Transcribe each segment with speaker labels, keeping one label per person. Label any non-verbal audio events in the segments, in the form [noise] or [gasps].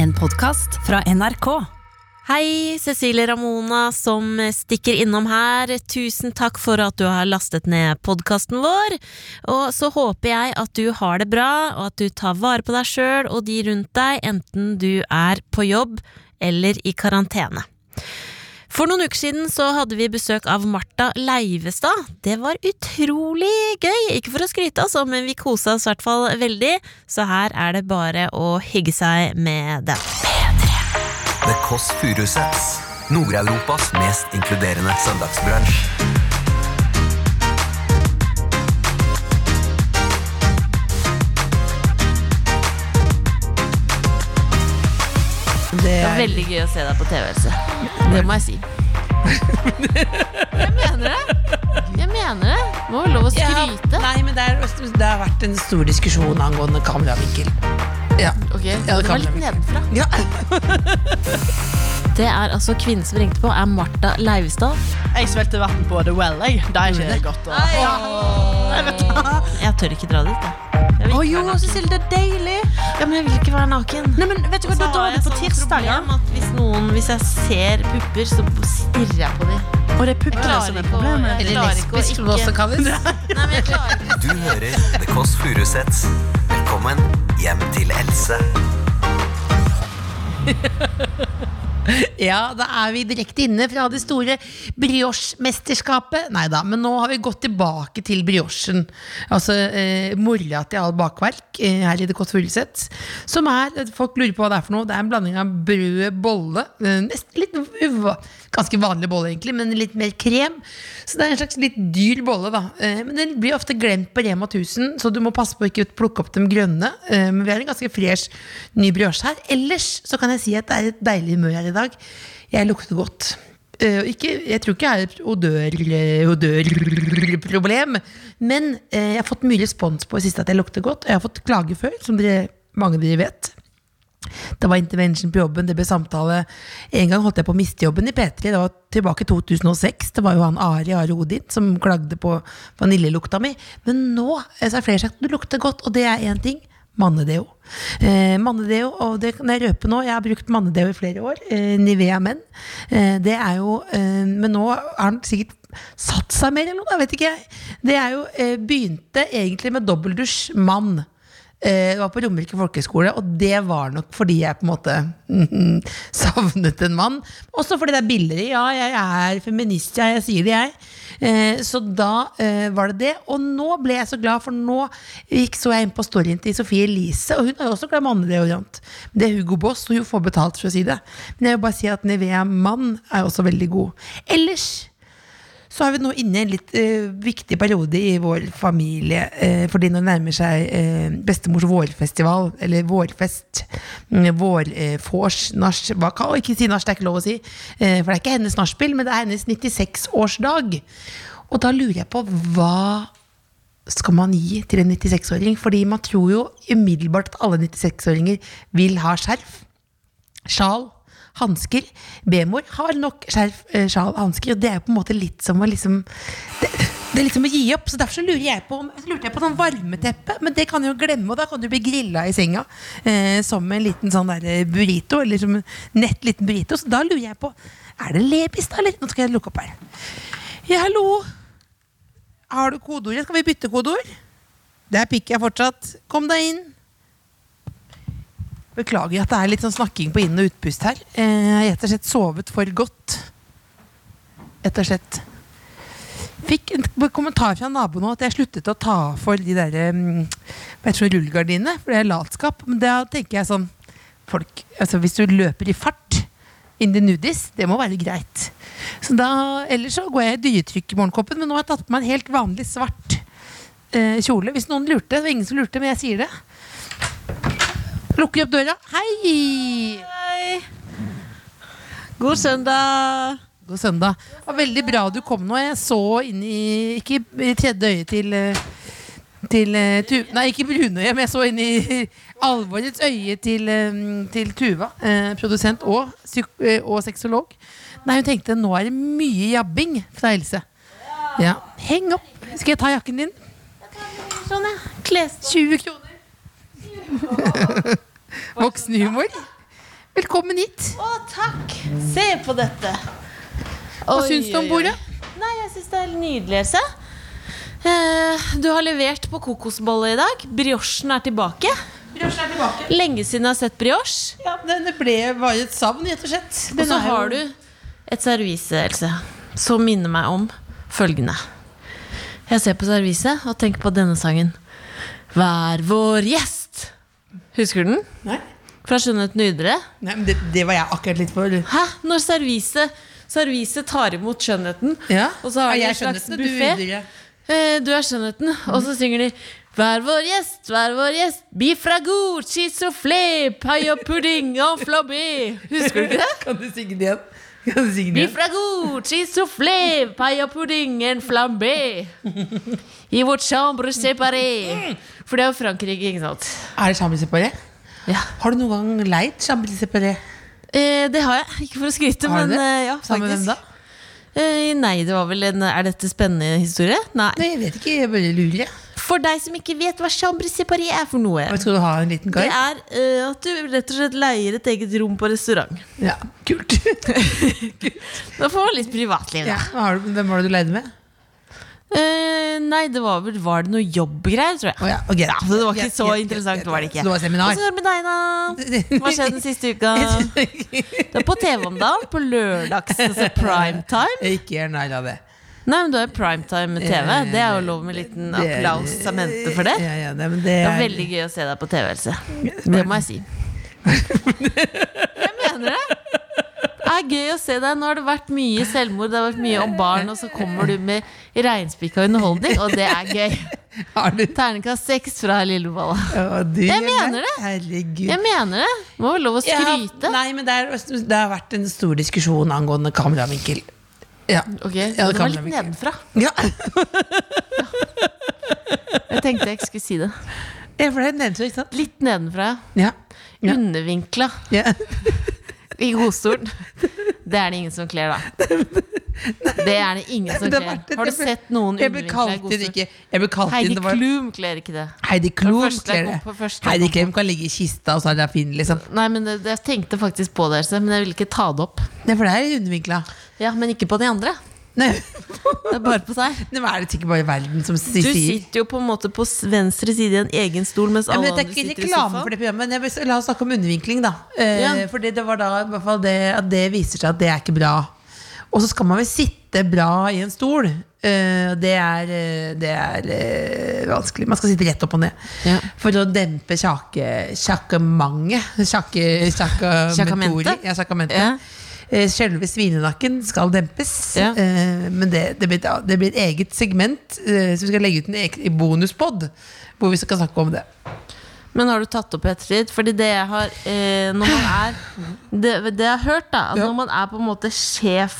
Speaker 1: En podkast fra NRK.
Speaker 2: Hei, Cecilie Ramona som stikker innom her. Tusen takk for at du har lastet ned podkasten vår. Og så håper jeg at du har det bra, og at du tar vare på deg sjøl og de rundt deg, enten du er på jobb eller i karantene. For noen uker siden så hadde vi besøk av Marta Leivestad. Det var utrolig gøy! Ikke for å skryte, altså, men vi kosa oss i hvert fall veldig. Så her er det bare å hygge seg med den.
Speaker 3: The Kåss Furuseths. Nord-Europas mest inkluderende søndagsbransj.
Speaker 4: Det
Speaker 2: Det var
Speaker 4: er,
Speaker 2: veldig gøy å se deg på TV, Else. Det må jeg si. Jeg mener det. Jeg mener det. Må jo lov å
Speaker 4: Ja,
Speaker 2: skryte.
Speaker 4: nei, men det, er, også- det har vært en stor diskusjon angående kameravinkel. Ja.
Speaker 2: Ok,
Speaker 4: det
Speaker 2: det
Speaker 4: kan
Speaker 2: var litt
Speaker 4: jeg.
Speaker 2: nedenfra.
Speaker 4: ja.
Speaker 2: Det er altså kvinnen som ringte på, er Martha Leivestad.
Speaker 5: Jeg smelte vann på The Well, jeg. Det er ikke det godt. å-
Speaker 2: Jeg tør ikke dra dit, jeg. jeg.
Speaker 5: Å
Speaker 2: vil ikke
Speaker 5: jo,
Speaker 2: være naken.
Speaker 5: Cecilie, det er deilig.
Speaker 2: Ja, men jeg vil ikke være naken.
Speaker 5: Nei, men vet du hva,
Speaker 2: Så
Speaker 5: Da
Speaker 2: har
Speaker 5: drar
Speaker 2: jeg
Speaker 5: du på
Speaker 2: sånn
Speaker 5: tirsdager.
Speaker 2: problem at Hvis noen, hvis jeg ser pupper, så stirrer jeg på dem.
Speaker 5: Og det er puppene som
Speaker 2: Klarer
Speaker 5: er
Speaker 2: ikke å
Speaker 5: problemet.
Speaker 2: jeg
Speaker 4: Eller
Speaker 2: klarer ikke å
Speaker 4: lesbisk, som det også
Speaker 2: ikke-
Speaker 4: kalles. [laughs]
Speaker 2: Nei, men jeg klarer ikke
Speaker 3: Du hører The Kåss Furuseths. Velkommen hjem til Else.
Speaker 4: Ja, da er vi direkte inne fra det store brioche-mesterskapet. Nei da, men nå har vi gått tilbake til briochen. Altså eh, mora til all bakverk eh, her i Det Kåss Furuseth. Som er eh, Folk lurer på hva det er for noe. Det er en blanding av brød, bolle eh, nesten litt uva, Ganske vanlig bolle, egentlig, men litt mer krem. Så det er en slags litt dyr bolle, da. Eh, men den blir ofte glemt på Rema 1000, så du må passe på å ikke plukke opp dem grønne. Eh, men vi har en ganske fresh ny brioche her. Ellers så kan jeg si at det er et deilig humør her i dag. Jeg lukter godt. Eh, og ikke, jeg tror ikke jeg har et odørproblem, men eh, jeg har fått mye respons på i siste at jeg lukter godt. Og jeg har fått klage før, som dere, mange av dere vet. Det var intervention på jobben, det ble samtale. En gang holdt jeg på å miste jobben i P3. Det var tilbake i 2006. Det var jo han Ari Ari Odin som klagde på vaniljelukta mi. Men nå eh, så har flere sagt du lukter godt, og det er én ting. Mannedeo. Eh, mannedeo, og det kan jeg røpe nå, jeg har brukt mannedeo i flere år. Eh, Nivea menn. Eh, det er jo eh, Men nå har han sikkert satt seg mer eller noe, da, vet ikke jeg. Det er jo eh, Begynte egentlig med dobbeltdusj mann. Eh, Jeg var på Romerike folkehøgskole, og det var nok fordi jeg på en måte mhm, savnet en mann. Også fordi det er billigere. Ja, jeg er feminist, ja, jeg sier det, jeg. Eh, Så da eh, var det det. Og nå ble jeg så glad, for nå gikk, så jeg inn på storyen til Sofie Elise, og hun har jo også glad mannedeodorant. Det er Hugo Boss, og hun får betalt for å si det. Men jeg vil bare si at Nivea Mann er også veldig god. Ellers så er vi nå inne i en litt eh, viktig periode i vår familie. eh, fordi nå nærmer seg eh, bestemors vårfestival, eller vårfest. Mm, Vårfors, nach Hva kan å, ikke si nach, det er ikke lov å si. eh, for det er ikke hennes nachspiel, men det er hennes 96-årsdag. Og da lurer jeg på hva skal man gi til en 96-åring? Fordi man tror jo umiddelbart at alle 96-åringer vil ha skjerf sjal, hansker. B-mor har nok skjerf, eh, sjal, hansker. Og det er jo på en måte litt som å liksom det, det er liksom å gi opp. Så derfor så lurer jeg på om- så lurte jeg på noen varmeteppe. Men det kan jeg jo glemme, og da kan du bli grilla i senga eh, som en liten sånn der eh, burrito. Eller som en nett liten burrito. Så da lurer jeg på Er det lepis, da? Eller? Nå skal jeg lukke opp her. Ja, hallo. Har du kodeordet? Skal vi bytte kodeord? Der pikker jeg fortsatt. Kom deg inn. Beklager at det er litt sånn snakking på inn- og utpust her. Eh, Jeg har rett og slett sovet for godt. Rett og slett. Fikk en k- kommentar fra naboen nå at jeg sluttet å ta for de der mm, hva heter det, rullegardinene, for det er latskap. Men da tenker jeg sånn folk, altså Hvis du løper i fart inn i nudis, det må være greit. Så da, Ellers så går jeg i dyretrykk i morgenkoppen, men nå har jeg tatt på meg en helt vanlig svart eh, kjole. Hvis noen lurte, det var ingen som lurte, men jeg sier det. Lukker opp døra. Hei!
Speaker 2: Hei. God søndag.
Speaker 4: God søndag. Det var veldig bra du kom nå. Jeg så inn i Ikke i tredje øye til eh, til, eh, tu nei, ikke brunøye, men jeg så inn i alvorets øye til, eh, til Tuva, eh, produsent og, psyk eh, og sexolog. Nei, hun tenkte nå er det mye jabbing fra Else. Ja. Heng opp. Skal jeg ta jakken din?
Speaker 2: Sånn,
Speaker 4: [laughs]
Speaker 2: ja. Kles.
Speaker 4: 20 kroner. Voksenhumor. Velkommen hit.
Speaker 6: Å, takk! Se på dette.
Speaker 4: Hva
Speaker 6: Oi,
Speaker 4: syns du
Speaker 6: oi,
Speaker 4: om
Speaker 6: oi.
Speaker 4: bordet?
Speaker 2: Nei, jeg syns det er nydelig, Else. Eh, Du har levert på kokosbolle i dag. Briochen er tilbake.
Speaker 4: Brioche er tilbake.
Speaker 2: Lenge siden jeg har sett brioche.
Speaker 4: Ja, det, det ble bare et savn, rett og slett.
Speaker 2: Og
Speaker 4: Den er
Speaker 2: så
Speaker 4: jo-
Speaker 2: har du et servise, Else, som minner meg om følgende. Jeg ser på serviset og tenker på denne sangen. Vær vår gjest. Husker du den?
Speaker 4: Nei,
Speaker 2: Fra Skjønnhet nydere.
Speaker 4: nei men det, det var jeg akkurat litt for.
Speaker 2: Hæ? Når serviset, serviset tar imot skjønnheten,
Speaker 4: Ja,
Speaker 2: og så har
Speaker 4: Ja,
Speaker 2: de
Speaker 4: jeg
Speaker 2: en
Speaker 4: skjønner
Speaker 2: slags
Speaker 4: det, du Mhm.
Speaker 2: buffé.
Speaker 4: videre.
Speaker 2: Eh, Du er skjønnheten. Og så synger de Vær vår gjest, vær vår gjest. Biff ragout, cheese soufflé, pai og pudding og flabé. Husker du ikke det?
Speaker 4: [laughs] Kan du synge det igjen? Kan du synge det
Speaker 2: Biff
Speaker 4: igjen?
Speaker 2: ragout, cheese soufflé, pai og pudding en flambé. I vårt chambre séparé. For det er jo Frankrike, ikke sant?
Speaker 4: Er det chambre-separé?
Speaker 2: Ja.
Speaker 4: Har du noen gang leid chambre-separé?
Speaker 2: Eh, det har jeg. Ikke for å skryte,
Speaker 4: Har du
Speaker 2: men
Speaker 4: det?
Speaker 2: eh, ja,
Speaker 4: Sammen med hvem da?
Speaker 2: faktisk. Eh, nei, det var vel en Er dette spennende historie? Nei.
Speaker 4: Nei, jeg vet ikke. Jeg bare lurer. jeg.
Speaker 2: For deg som ikke vet hva chambre séparé er for noe.
Speaker 4: Skal du ha en liten
Speaker 2: Det
Speaker 4: kar?
Speaker 2: er eh, at du rett og slett leier et eget rom på restaurant.
Speaker 4: Ja,
Speaker 2: [laughs]
Speaker 4: kult. [laughs]
Speaker 2: Da får man litt privatliv, da.
Speaker 4: Ja, hva har du, hvem var det du leide med?
Speaker 2: Eh, nei, det var vel Var det noe jobbgreier, tror jeg.
Speaker 4: Å ja, ok, da.
Speaker 2: Så det var ikke
Speaker 4: Greit,
Speaker 2: så
Speaker 4: greit,
Speaker 2: interessant,
Speaker 4: greit,
Speaker 2: var det ikke.
Speaker 4: Så det var seminar. [laughs]
Speaker 2: Åssen går det med deg, da? Hva skjedde den siste [laughs] uka? Du er på TV om dagen, på lørdags, altså primetime.
Speaker 4: Ikke gjør narr av det.
Speaker 2: Nei, men du er jo primetime med TV. Det er jo lov med en liten applaus av mente for det.
Speaker 4: Ja, ja, det, men det
Speaker 2: Det
Speaker 4: er
Speaker 2: var veldig gøy å se deg på TV, Else. Det må jeg si. Jeg mener det. Det er gøy å se deg. Nå har det vært mye selvmord, det har vært mye om barn, og så kommer du med reinspikka underholdning, og det er gøy.
Speaker 4: Har du
Speaker 2: Terningkast seks fra Lillebolla.
Speaker 4: Å, du,
Speaker 2: Jeg
Speaker 4: gjør narr.
Speaker 2: mener det.
Speaker 4: Herregud.
Speaker 2: Jeg mener det. Må være lov å
Speaker 4: Jeg har-
Speaker 2: skryte.
Speaker 4: Nei, men det, er, det har vært en stor diskusjon angående kameravinkel. Ja.
Speaker 2: Ok,
Speaker 4: Ja,
Speaker 2: det var litt
Speaker 4: kameravinkel.
Speaker 2: nedenfra.
Speaker 4: Ja,
Speaker 2: Jeg tenkte jeg ikke skulle si det.
Speaker 4: ja, for det nevnte du, ikke sant?
Speaker 2: Litt nedenfra, ja.
Speaker 4: Ja. Ja.
Speaker 2: Undervinkla
Speaker 4: [laughs] ja.
Speaker 2: i godstolen. Det er det ingen som kler, da. Det er det ingen som
Speaker 4: Det har
Speaker 2: kler.
Speaker 4: vært et-
Speaker 2: Har du
Speaker 4: jeg ble-
Speaker 2: sett noen
Speaker 4: Jeg ble
Speaker 2: undervinkla i
Speaker 4: kalt inn
Speaker 2: godstolen?
Speaker 4: ikke Jeg ble kalt inn
Speaker 2: Heidi
Speaker 4: det var,
Speaker 2: Klum kler ikke det.
Speaker 4: Heidi
Speaker 2: På
Speaker 4: Klum
Speaker 2: første
Speaker 4: kler
Speaker 2: jeg
Speaker 4: det.
Speaker 2: kom på, første jeg
Speaker 4: Heidi
Speaker 2: kom
Speaker 4: Klum kan ligge i kista, og så er det fin, liksom.
Speaker 2: Nei, men det, det- Jeg tenkte faktisk på det, Else, men jeg ville ikke ta det opp.
Speaker 4: Nei, for det er undervinkla.
Speaker 2: Ja, Men ikke på de andre.
Speaker 4: [laughs] Nei,
Speaker 2: Det er bare på seg.
Speaker 4: Nei, men er det ikke bare verden som
Speaker 2: Du
Speaker 4: sier
Speaker 2: sitter jo på en måte på s- venstre side i en egen stol, mens
Speaker 4: Ja,
Speaker 2: alle
Speaker 4: men dette
Speaker 2: andre
Speaker 4: er ikke
Speaker 2: sitter i
Speaker 4: reklame for
Speaker 2: sofaen.
Speaker 4: det programmet. men Jeg vil, la oss snakke om undervinkling, da. Eh,
Speaker 2: Ja.
Speaker 4: Fordi det var da i hvert fall det, at det viser seg at det er ikke bra. Og så skal man vel sitte bra i en stol. Eh, og det er, eh, det er eh, vanskelig. Man skal sitte rett opp og ned.
Speaker 2: Ja.
Speaker 4: For å dempe kjake, sjakemanget. Sjake,
Speaker 2: Sjakamentet?
Speaker 4: Ja, sjakamentet.
Speaker 2: Ja.
Speaker 4: Eh, Selve svinenakken skal dempes,
Speaker 2: Ja.
Speaker 4: Eh, men det, det, blir, et- det blir et eget segment eh, som vi skal legge ut en ek- bonuspod hvor vi skal snakke om det.
Speaker 2: Men har du tatt opp i ettertid? Fordi det jeg har eh, Når man er det, det jeg har hørt, da, at
Speaker 4: Ja.
Speaker 2: når man er på en måte sjef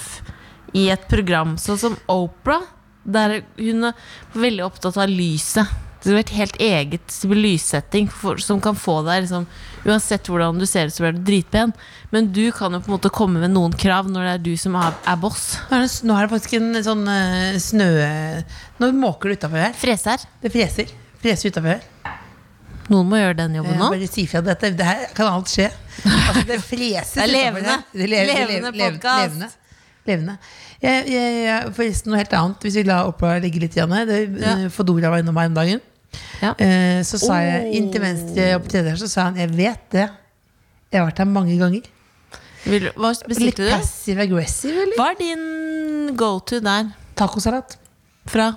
Speaker 2: i et program, sånn som Opera, der hun er veldig opptatt av lyset. Det skulle vært helt eget lyssetting for, som kan få deg liksom Uansett hvordan du ser ut, så blir du dritpen. Men du kan jo på en måte komme med noen krav når det er du som er, er boss.
Speaker 4: Nå er, det, nå er det faktisk en sånn eh, snø... Nå måker det utafor her.
Speaker 2: Freser.
Speaker 4: Det freser. Freser utafor her.
Speaker 2: Noen må gjøre den jobben
Speaker 4: Jeg
Speaker 2: nå.
Speaker 4: Bare si fra dette. Det her kan alt skje. Altså, det freses
Speaker 2: Det
Speaker 4: utenfor
Speaker 2: er levende.
Speaker 4: her. Det er le- det er
Speaker 2: Levende
Speaker 4: le- lev-
Speaker 2: podcast.
Speaker 4: Levende. levende. Jeg, jeg, jeg, forresten noe helt annet, hvis vi la oppa ligge litt. Janne. Det,
Speaker 2: Ja.
Speaker 4: eh, Fodora var innom her om dagen.
Speaker 2: Ja. Oh.
Speaker 4: Eh, så sa jeg inn til venstre opp til der, så sa han jeg vet det. Jeg har vært her mange ganger.
Speaker 2: Vil, hva
Speaker 4: Litt
Speaker 2: bestilte du?
Speaker 4: passive aggressive, eller?
Speaker 2: Hva er din go to der?
Speaker 4: Tacosalat.
Speaker 2: Fra?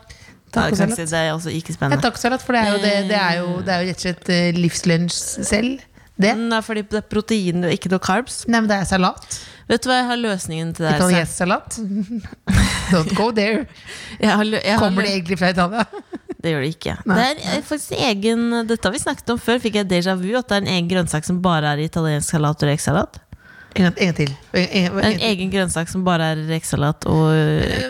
Speaker 4: Tacosalat.
Speaker 2: Ja, kanskje Det er også ikke
Speaker 4: Ja,
Speaker 2: spennende.
Speaker 4: tacosalat, for det er, jo det, det, er jo, det er jo rett og slett eh, livslunsj selv. Det.
Speaker 2: Nei, fordi Mm, det er protein og ikke noe carbs.
Speaker 4: Nei, men det er salat.
Speaker 2: Vet du hva, jeg har løsningen til deg. Else.
Speaker 4: Italiensk salat. [laughs] Don't go there.
Speaker 2: Jeg har, lø- jeg har
Speaker 4: Kommer det
Speaker 2: lø-
Speaker 4: egentlig fra Italia?
Speaker 2: det gjør det ikke.
Speaker 4: Nei.
Speaker 2: Det er eh, faktisk en egen Dette har vi snakket om før, fikk jeg déjà vu. At det er en egen grønnsak som bare er i italiensk salat og rekesalat.
Speaker 4: En gang, en gang til. En, en,
Speaker 2: Det er
Speaker 4: en, Eh,
Speaker 2: en egen grønnsak som bare er i rekesalat og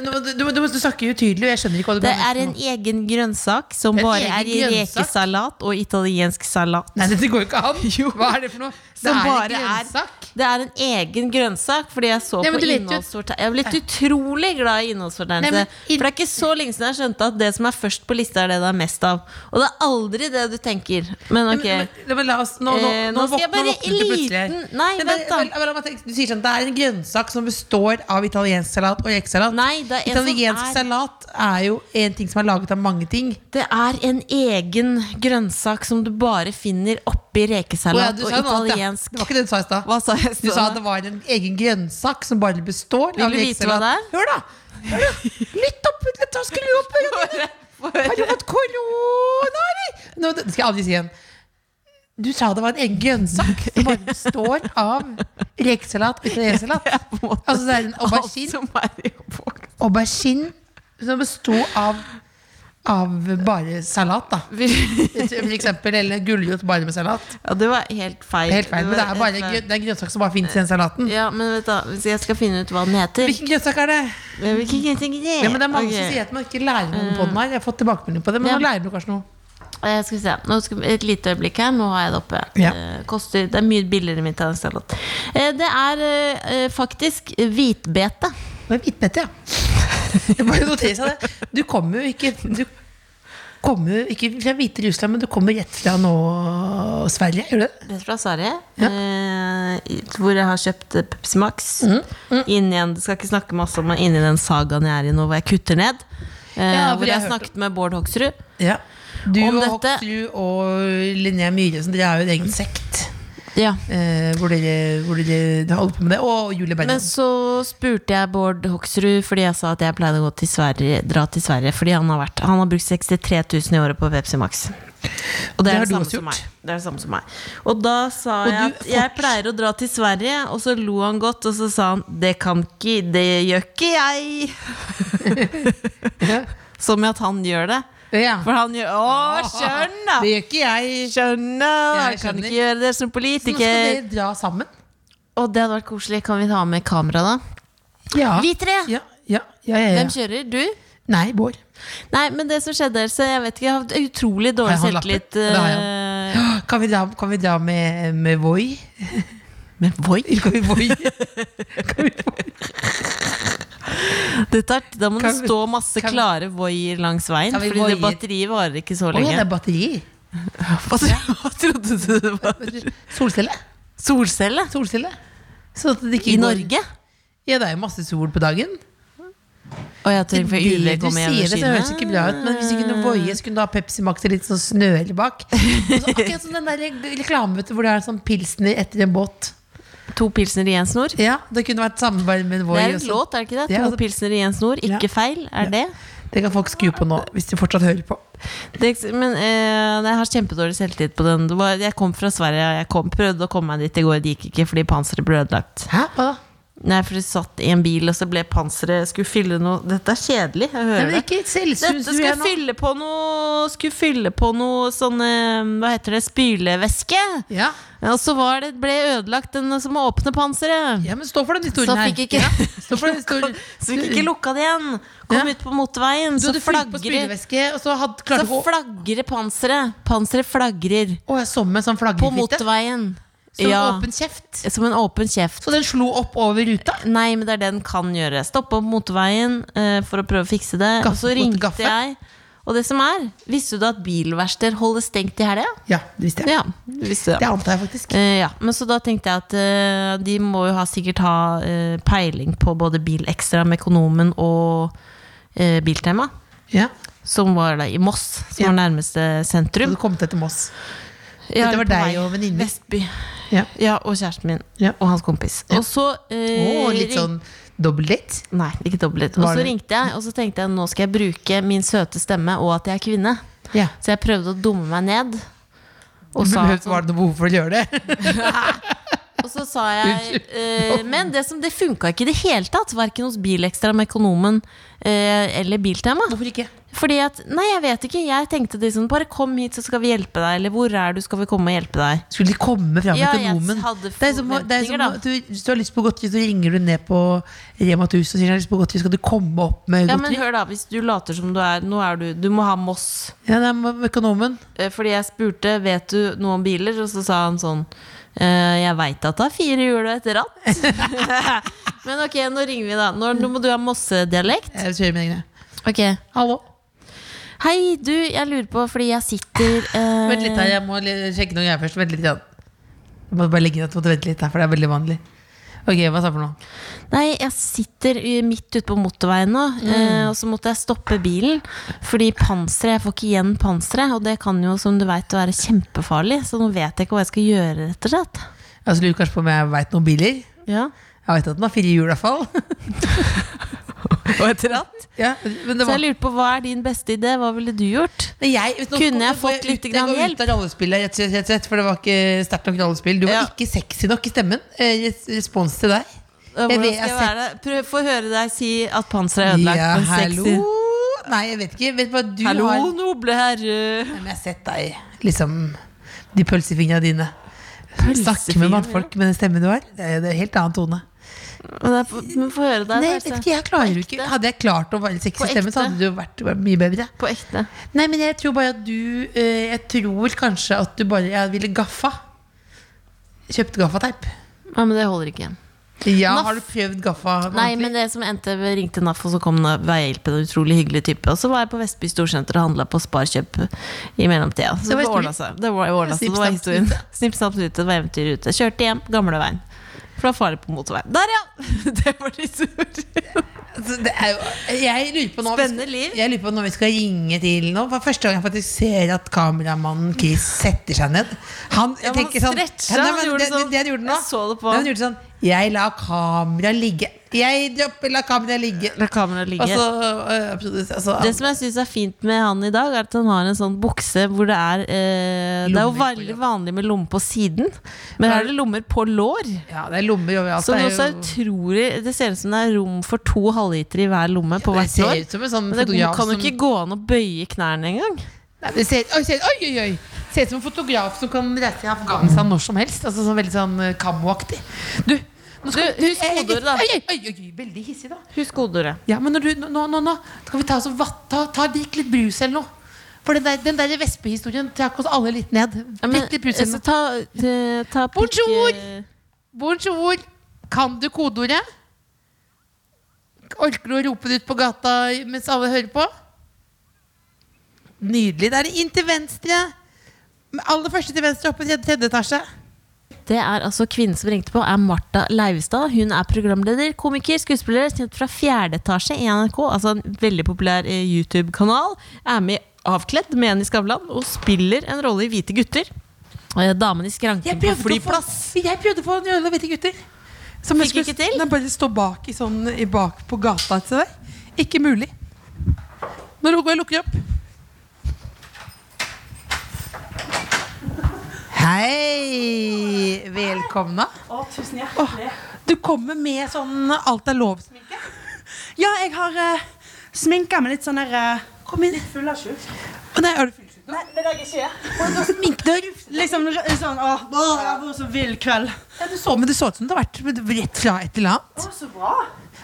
Speaker 4: Nå må du, du, må- du, må- du snakker utydelig, og jeg skjønner ikke hva du
Speaker 2: Det
Speaker 4: mener.
Speaker 2: er en egen grønnsak som
Speaker 4: En
Speaker 2: bare
Speaker 4: egen
Speaker 2: er i
Speaker 4: grønnsak?
Speaker 2: rekesalat og italiensk salat. [laughs]
Speaker 4: Nei, dette går jo ikke an! Hva er det for noe? Det
Speaker 2: Som
Speaker 4: er en
Speaker 2: bare er
Speaker 4: grønnsak.
Speaker 2: Det er en egen grønnsak, fordi jeg så
Speaker 4: Ja, men
Speaker 2: på
Speaker 4: du vet jo-
Speaker 2: innholdssortering. Jeg har blitt utrolig glad i
Speaker 4: Nei,
Speaker 2: innholdssortering.
Speaker 4: men i-
Speaker 2: For det er ikke så lenge siden jeg skjønte at det som er først på lista, er det det er mest av. Og det er aldri det du tenker. Men ok.
Speaker 4: Men, men, men la oss, nå, nå,
Speaker 2: Eh,
Speaker 4: nå,
Speaker 2: nå skal jeg
Speaker 4: våk-
Speaker 2: bare
Speaker 4: nå våknet du plutselig her.
Speaker 2: liten- Nei,
Speaker 4: men,
Speaker 2: vent da.
Speaker 4: men, men, men, Du sier sånn, det er en grønnsak som består av italiensk salat og rekesalat.
Speaker 2: Nei, det er en som
Speaker 4: Italiensk
Speaker 2: er-
Speaker 4: salat er jo en ting som er laget av mange ting.
Speaker 2: Det er en egen grønnsak som du bare finner oppi
Speaker 4: Å ja,
Speaker 2: rekesalat
Speaker 4: du sa
Speaker 2: og
Speaker 4: noe annet, ja.
Speaker 2: italiensk.
Speaker 4: Det var ikke det du sa i stad.
Speaker 2: Hva sa jeg?
Speaker 4: Du sa at det var en egen grønnsak som bare består
Speaker 2: Vil
Speaker 4: av
Speaker 2: du vite hva
Speaker 4: rekesalat.
Speaker 2: det
Speaker 4: Hør, da! Hør da. Lytt opp! Lytt opp, skru opp ørene dine! Har du fått korona, eller? Nå, det skal jeg aldri si igjen. Du sa det var en egen grønnsak som bare består av rekesalat og italiensalat. Altså, det er en
Speaker 2: Alt
Speaker 4: aubergine
Speaker 2: som er i oppvoksen.
Speaker 4: aubergine som besto av av bare salat, da. For eksempel, eller gulrot bare med salat.
Speaker 2: Ja, det var helt feil.
Speaker 4: Det er helt feil, men det
Speaker 2: var
Speaker 4: er bare
Speaker 2: helt
Speaker 4: grø-
Speaker 2: feil.
Speaker 4: det er en grønnsak som bare fins i den salaten.
Speaker 2: Ja, men vet du, hvis jeg skal finne ut hva den heter
Speaker 4: Hvilken grønnsak er det?
Speaker 2: Hvilken grønnsak er det?
Speaker 4: Ja, men det er mange som
Speaker 2: Ok. Mm.
Speaker 4: sier at man ikke lærer noe på den her. Jeg har fått tilbakemelding på det, men
Speaker 2: Ja.
Speaker 4: nå lærer du kanskje noe.
Speaker 2: Eh, Skal vi se. Nå skal, et lite øyeblikk her. Nå har jeg det oppe.
Speaker 4: Ja.
Speaker 2: Eh, koster, det er mye billigere med italiensk salat. Eh, det er eh, eh, faktisk hvitbete.
Speaker 4: Det er hvitbete, ja. Jeg bare noterer seg det. Du kommer jo ikke Du kommer jo ikke fra Hviterussland, men du kommer rett fra nå Sverige, gjør du det?
Speaker 2: Rett fra Sverige.
Speaker 4: Ja.
Speaker 2: Eh, i- hvor jeg har kjøpt eh, Pepsi Max.
Speaker 4: Mhm,
Speaker 2: Inni en, skal ikke snakke masse om men inni den sagaen jeg er i nå, hvor jeg kutter ned. Eh,
Speaker 4: Ja, for
Speaker 2: hvor
Speaker 4: jeg
Speaker 2: jeg
Speaker 4: har hørt
Speaker 2: snakket med Bård Hoksrud.
Speaker 4: Ja. Du
Speaker 2: Om
Speaker 4: og
Speaker 2: dette-
Speaker 4: Hoksrud og Linnea Myhresen, dere er jo en egen sekt.
Speaker 2: Ja.
Speaker 4: Eh, hvor dere, hvor dere dere holder på med det. Og Julie
Speaker 2: Men
Speaker 4: Bergen.
Speaker 2: så spurte jeg Bård Hoksrud fordi jeg sa at jeg pleide å gå til Sverige, dra til Sverige fordi han har, vært, han har brukt 63 000 i året på Pepsi Max. Og det
Speaker 4: Det
Speaker 2: er
Speaker 4: har
Speaker 2: det,
Speaker 4: du
Speaker 2: samme
Speaker 4: også
Speaker 2: som
Speaker 4: gjort.
Speaker 2: meg. det er det samme som meg. Og da sa
Speaker 4: Og
Speaker 2: jeg
Speaker 4: du
Speaker 2: at jeg pleier å dra til Sverige, og så lo han godt, og så sa han 'det kan ikke, det gjør ikke jeg'. [laughs] Som i at han gjør det.
Speaker 4: Ja.
Speaker 2: For han gjør Å, skjønna!
Speaker 4: Det gjør ikke jeg.
Speaker 2: Skjønner!
Speaker 4: Ah, Jeg
Speaker 2: Jeg kan
Speaker 4: skjønner.
Speaker 2: ikke gjøre det som
Speaker 4: Så nå skal
Speaker 2: politiker.
Speaker 4: dere dra sammen?
Speaker 2: Og det hadde vært koselig. Kan vi ta med kamera, da?
Speaker 4: Ja.
Speaker 2: Vi tre!
Speaker 4: Ja, ja, ja, ja, ja.
Speaker 2: Hvem kjører? Du?
Speaker 4: Nei, Bård.
Speaker 2: Nei, men det som skjedde, så jeg vet ikke, jeg har hatt utrolig dårlig
Speaker 4: Har han lappen?
Speaker 2: selvtillit.
Speaker 4: Ja, det har
Speaker 2: eh,
Speaker 4: [gasps] Kan vi dra, kan vi dra med, med Voi?
Speaker 2: Men [laughs] voi,
Speaker 4: Kan vi Voi?
Speaker 2: det tar, da må det
Speaker 4: Kan vi-
Speaker 2: stå masse
Speaker 4: kan vi-
Speaker 2: klare voier langs veien,
Speaker 4: Kan vi
Speaker 2: fordi det
Speaker 4: voier?
Speaker 2: batteriet varer ikke så
Speaker 4: Å ja, det
Speaker 2: lenge.
Speaker 4: er batteri. [laughs]
Speaker 2: Hva tro- hva trodde du det var?
Speaker 4: Solcelle.
Speaker 2: Solcelle?
Speaker 4: Solcelle. Så at det ikke
Speaker 2: I
Speaker 4: går-
Speaker 2: Norge?
Speaker 4: Ja, det er jo masse sol på dagen.
Speaker 2: Å, jeg tror for
Speaker 4: Det
Speaker 2: ille
Speaker 4: du
Speaker 2: kommer jeg
Speaker 4: sier det, så høres det ikke bra ut, men hvis du kunne voie, så kunne du ha Pepsi Max og litt sånn snøhelle
Speaker 2: [laughs]
Speaker 4: bak. Og så akkurat som den der reklamen vet du, hvor det er sånn pilsner etter en båt.
Speaker 2: To pilsner i en snor? Det
Speaker 4: Ja, Det kunne vært samarbeid med Voi.
Speaker 2: er en
Speaker 4: også.
Speaker 2: låt, er det ikke det?
Speaker 4: Ja,
Speaker 2: To
Speaker 4: altså-
Speaker 2: pilsner i en snor,
Speaker 4: Ja.
Speaker 2: ikke feil, er det?
Speaker 4: Det kan folk skru på nå, hvis de fortsatt hører på.
Speaker 2: det men eh, jeg har kjempedårlig selvtillit på den. Det var, jeg kom fra Sverige, og jeg kom, prøvde å komme meg dit i går, det gikk ikke fordi panseret ble ødelagt.
Speaker 4: Hæ? Hva da?
Speaker 2: Nei, for du satt i en bil, og så ble panseret Skulle fylle noe Dette er kjedelig, jeg
Speaker 4: Nei,
Speaker 2: hører
Speaker 4: men
Speaker 2: det.
Speaker 4: ikke selvsyns
Speaker 2: Dette
Speaker 4: du er
Speaker 2: skulle
Speaker 4: nå.
Speaker 2: fylle på noe Skulle fylle på noe sånn eh, Hva heter det? Spylevæske.
Speaker 4: Ja.
Speaker 2: Og så var det, ble ødelagt den som åpne panseret.
Speaker 4: ja, men stå for den historien
Speaker 2: Så
Speaker 4: her.
Speaker 2: fikk ikke-
Speaker 4: ja, stå for den historien.
Speaker 2: [laughs] Så vi fikk ikke lukka det igjen. Kom
Speaker 4: Ja.
Speaker 2: ut på motorveien,
Speaker 4: Du
Speaker 2: så
Speaker 4: hadde fylt på
Speaker 2: flagrer
Speaker 4: spylevæske, og så hadde,
Speaker 2: Så
Speaker 4: klarte du å
Speaker 2: flagrer panseret. Panseret flagrer.
Speaker 4: Å, jeg så med sånn
Speaker 2: På
Speaker 4: flaggerfitte.
Speaker 2: motorveien.
Speaker 4: Som
Speaker 2: Ja.
Speaker 4: åpen kjeft.
Speaker 2: Som en åpen kjeft.
Speaker 4: Så den slo opp over ruta.
Speaker 2: Nei, men det er det den kan gjøre. Stoppe opp motorveien eh, for å prøve å fikse det.
Speaker 4: Gaff-
Speaker 2: og så ringte
Speaker 4: gaffe.
Speaker 2: jeg. Og det som er, visste du at bilverksteder holder stengt i helga?
Speaker 4: Ja, det visste jeg.
Speaker 2: Ja, det visste
Speaker 4: Det
Speaker 2: jeg.
Speaker 4: antar jeg faktisk.
Speaker 2: Eh, ja, men så da tenkte jeg at eh, de må jo ha, sikkert ha eh, peiling på både Bilextra, Mekonomen og eh, Biltema.
Speaker 4: Ja.
Speaker 2: Som var da i Moss, som
Speaker 4: Ja.
Speaker 2: var nærmeste
Speaker 4: Så
Speaker 2: sentrum.
Speaker 4: du kom til etter Moss.
Speaker 2: Ja,
Speaker 4: Dette var
Speaker 2: på
Speaker 4: deg
Speaker 2: vei.
Speaker 4: og venninnen.
Speaker 2: Vestby.
Speaker 4: Ja.
Speaker 2: Ja, og kjæresten min.
Speaker 4: Ja.
Speaker 2: Og hans kompis. Og så
Speaker 4: Å,
Speaker 2: eh,
Speaker 4: litt
Speaker 2: ring-
Speaker 4: sånn dobbel date?
Speaker 2: Nei, ikke dobbelt. Og
Speaker 4: Var
Speaker 2: så
Speaker 4: det-
Speaker 2: ringte jeg, og så tenkte jeg nå skal jeg bruke min søte stemme og at jeg er kvinne.
Speaker 4: Ja.
Speaker 2: Så jeg prøvde å dumme meg ned.
Speaker 4: [laughs]
Speaker 2: Og sa, sånn-
Speaker 4: Behøvde- Var det noe behov for å gjøre det?
Speaker 2: og så sa jeg eh, Men det som det funka ikke i det hele tatt, verken hos Bilextra med Økonomen eh, eller Biltema.
Speaker 4: Hvorfor ikke?
Speaker 2: Fordi at Nei, jeg vet ikke. Jeg tenkte liksom bare kom hit, så skal vi hjelpe deg. Eller hvor er du, skal vi komme og hjelpe deg.
Speaker 4: Skulle de komme fram
Speaker 2: Ja,
Speaker 4: til
Speaker 2: jeg
Speaker 4: nomen?
Speaker 2: hadde
Speaker 4: Det er som, å- det er som
Speaker 2: forventninger,
Speaker 4: å- du, hvis du har lyst på godteri, så ringer du ned på Rema 1000 og sier jeg har lyst på godteri, skal du komme opp med
Speaker 2: Ja, men
Speaker 4: godteri?
Speaker 2: hør da, hvis du later som du er Nå er du Du må ha Moss.
Speaker 4: Ja, det er med økonomen.
Speaker 2: Eh, Fordi jeg spurte Vet du noe om biler, og så sa han sånn eh, Eh, jeg veit at det har fire hjul og et ratt. [laughs] Men ok, nå ringer vi, da. Nå, nå må du ha Mosse-dialekt.
Speaker 4: Jeg kjører mine egne.
Speaker 2: Ok.
Speaker 4: Hallo.
Speaker 2: Hei, du, jeg lurer på, fordi jeg sitter eh,
Speaker 4: Vent litt her, jeg må li- sjekke noen greier først. Vent litt. Igjen. Jeg må bare legge ned og vente litt her, for det er veldig vanlig. Ok, hva sa du for noe?
Speaker 2: Nei, jeg sitter i- midt ute på motorveien nå,
Speaker 4: Mm.
Speaker 2: eh, og så måtte jeg stoppe bilen. Fordi panseret, jeg får ikke igjen panseret, og det kan jo, som du veit, være kjempefarlig. Så nå vet jeg ikke hva jeg skal gjøre, rett og slett.
Speaker 4: Altså, lurer kanskje på om jeg veit noen biler?
Speaker 2: Ja.
Speaker 4: Jeg veit at den har fire hjul, i hvert fall.
Speaker 2: [laughs] Og et ratt.
Speaker 4: ja, men det
Speaker 2: Så jeg
Speaker 4: var...
Speaker 2: lurte på, hva er din beste idé? Hva ville du gjort?
Speaker 4: Men jeg, nå-
Speaker 2: Kunne
Speaker 4: nå
Speaker 2: jeg
Speaker 4: går
Speaker 2: fått litt
Speaker 4: ut-
Speaker 2: grann
Speaker 4: Jeg går ut av rollespillet, rett, rett, rett, for det var ikke sterkt nok rollespill. Du var
Speaker 2: Ja.
Speaker 4: ikke sexy nok i stemmen. Eh, res- Respons til deg.
Speaker 2: Hvordan
Speaker 4: vet-
Speaker 2: skal
Speaker 4: jeg
Speaker 2: jeg
Speaker 4: har
Speaker 2: være det? Prøv, få høre deg si at panseret er ødelagt. men sexy.
Speaker 4: Nei, jeg vet ikke. Vet du hva du
Speaker 2: Hallo,
Speaker 4: har
Speaker 2: noble herre.
Speaker 4: Nei, men Jeg har sett deg, liksom De pølsefingrene dine. Snakke med mannfolk med den stemmen du har. Det er det er helt annen tone.
Speaker 2: Men det er- men få høre deg.
Speaker 4: Nei,
Speaker 2: Pølse.
Speaker 4: vet ikke, jeg klarer jo ikke Hadde jeg klart å være sexy
Speaker 2: På
Speaker 4: i stemmen, så
Speaker 2: ekte.
Speaker 4: hadde det jo vært vært mye bedre.
Speaker 2: På ekte.
Speaker 4: Nei, men jeg tror bare at du eh, Jeg tror kanskje at du bare Jeg ville gaffa. Kjøpt gaffateip.
Speaker 2: Ja, men det holder ikke.
Speaker 4: Ja,
Speaker 2: Naff.
Speaker 4: har du prøvd gaffa?
Speaker 2: Nei, men det som endte vi ringte NAF, og så kom det veihjelpen, en utrolig hyggelig type. Og så var jeg på Vestby Storsenter og handla på Sparkjøp i mellomtida.
Speaker 4: Det
Speaker 2: Så
Speaker 4: var historien.
Speaker 2: det ordna seg. Det var, ordnet seg.
Speaker 4: Snipp,
Speaker 2: det var
Speaker 4: snapp,
Speaker 2: historien. Snipp, snapp, snute. Det var eventyr ute. Kjørte hjem gamleveien. For det var farlig på motorveien. Der, ja! [laughs] Det var historien.
Speaker 4: Altså, det er jo, jeg lurer på nå
Speaker 2: Spennende liv.
Speaker 4: Jeg lurer på når vi skal ringe til nå. For første gang jeg faktisk ser at kameramannen Chris setter seg ned. Han, jeg
Speaker 2: Ja, men han
Speaker 4: tenker sånn,
Speaker 2: stretcha,
Speaker 4: Ja, nei,
Speaker 2: han
Speaker 4: men
Speaker 2: gjorde
Speaker 4: det,
Speaker 2: sånn.
Speaker 4: det, det han gjorde nå
Speaker 2: Jeg så det på
Speaker 4: Nei, Han gjorde sånn Jeg lar kamera ligge. Jeg dropper, la kamera ligge.
Speaker 2: La kameraet ligge.
Speaker 4: Og så, øh, produs- altså,
Speaker 2: det som jeg syns er fint med han i dag, er at han har en sånn bukse hvor det er eh, Det er jo
Speaker 4: Lommer på, ja.
Speaker 2: veldig vanlig med lomme på siden, men her er det lommer på lår.
Speaker 4: ja, det er lommer overalt.
Speaker 2: Som
Speaker 4: det er
Speaker 2: også er
Speaker 4: jo-
Speaker 2: utrolig Det ser ut som det er rom for to halvliter i hver lomme på
Speaker 4: det
Speaker 2: hvert
Speaker 4: ser
Speaker 2: år.
Speaker 4: ut som en sånn
Speaker 2: Men det
Speaker 4: fotograf
Speaker 2: kan jo
Speaker 4: som-
Speaker 2: ikke gå an å bøye knærne engang.
Speaker 4: Nei, det ser, oi, ser, oi, oi, oi. ser ut som en fotograf som kan reise i Afghanistan når som helst. Altså sånn Veldig sånn eh, Kammo-aktig. Du, nå skal,
Speaker 2: Du, husk
Speaker 4: Ei, ei,
Speaker 2: kodeordet, da.
Speaker 4: Oi, oi, oi, oi, veldig hissig, da.
Speaker 2: Husk kodeordet.
Speaker 4: Ja, men når du, nå, nå, nå skal vi ta oss og vatt, ta, ta drikk litt brus eller noe. For den der, den der vespehistorien trakk oss alle litt ned. Drikk litt brus eller noe.
Speaker 2: ta, eh, ta pikk-
Speaker 4: Bonjour! Bonjour, kan du kodeordet? Orker du å rope det ut på gata mens alle hører på? Nydelig. Da er det inn til venstre. Med Aller første til venstre oppe i tredje- tredje etasje.
Speaker 2: Det er altså Kvinnen som ringte på, er Martha Leivestad. Hun er programleder, komiker, skuespiller, kjent fra fjerde etasje i NRK. Altså en veldig populær eh, YouTube-kanal. Er med i Avkledd med en i Skavlan og spiller en rolle i Hvite gutter. Eh, Damen i skranken på flyplass.
Speaker 4: jeg prøvde å få en øl og hvite gutter. Som
Speaker 2: Fikk ikke til?
Speaker 7: Nei, bare stå bak, i sånn, i bak på gata til deg. Ikke mulig.
Speaker 4: Nå lukker jeg lukker opp. Hei! Velkomna.
Speaker 7: Du kommer med sånn alt er lov-sminke. Ja, jeg har uh, sminka med litt sånn der eh, Litt full av skjult.
Speaker 4: Å nei, er du full?
Speaker 7: Nei, det er jeg ikke. Liksom r- sånn åh, åh, jeg har vært så vill kveld.
Speaker 4: Ja, du så, men du så ut som du har vært rett fra et eller annet.
Speaker 7: Å, så bra.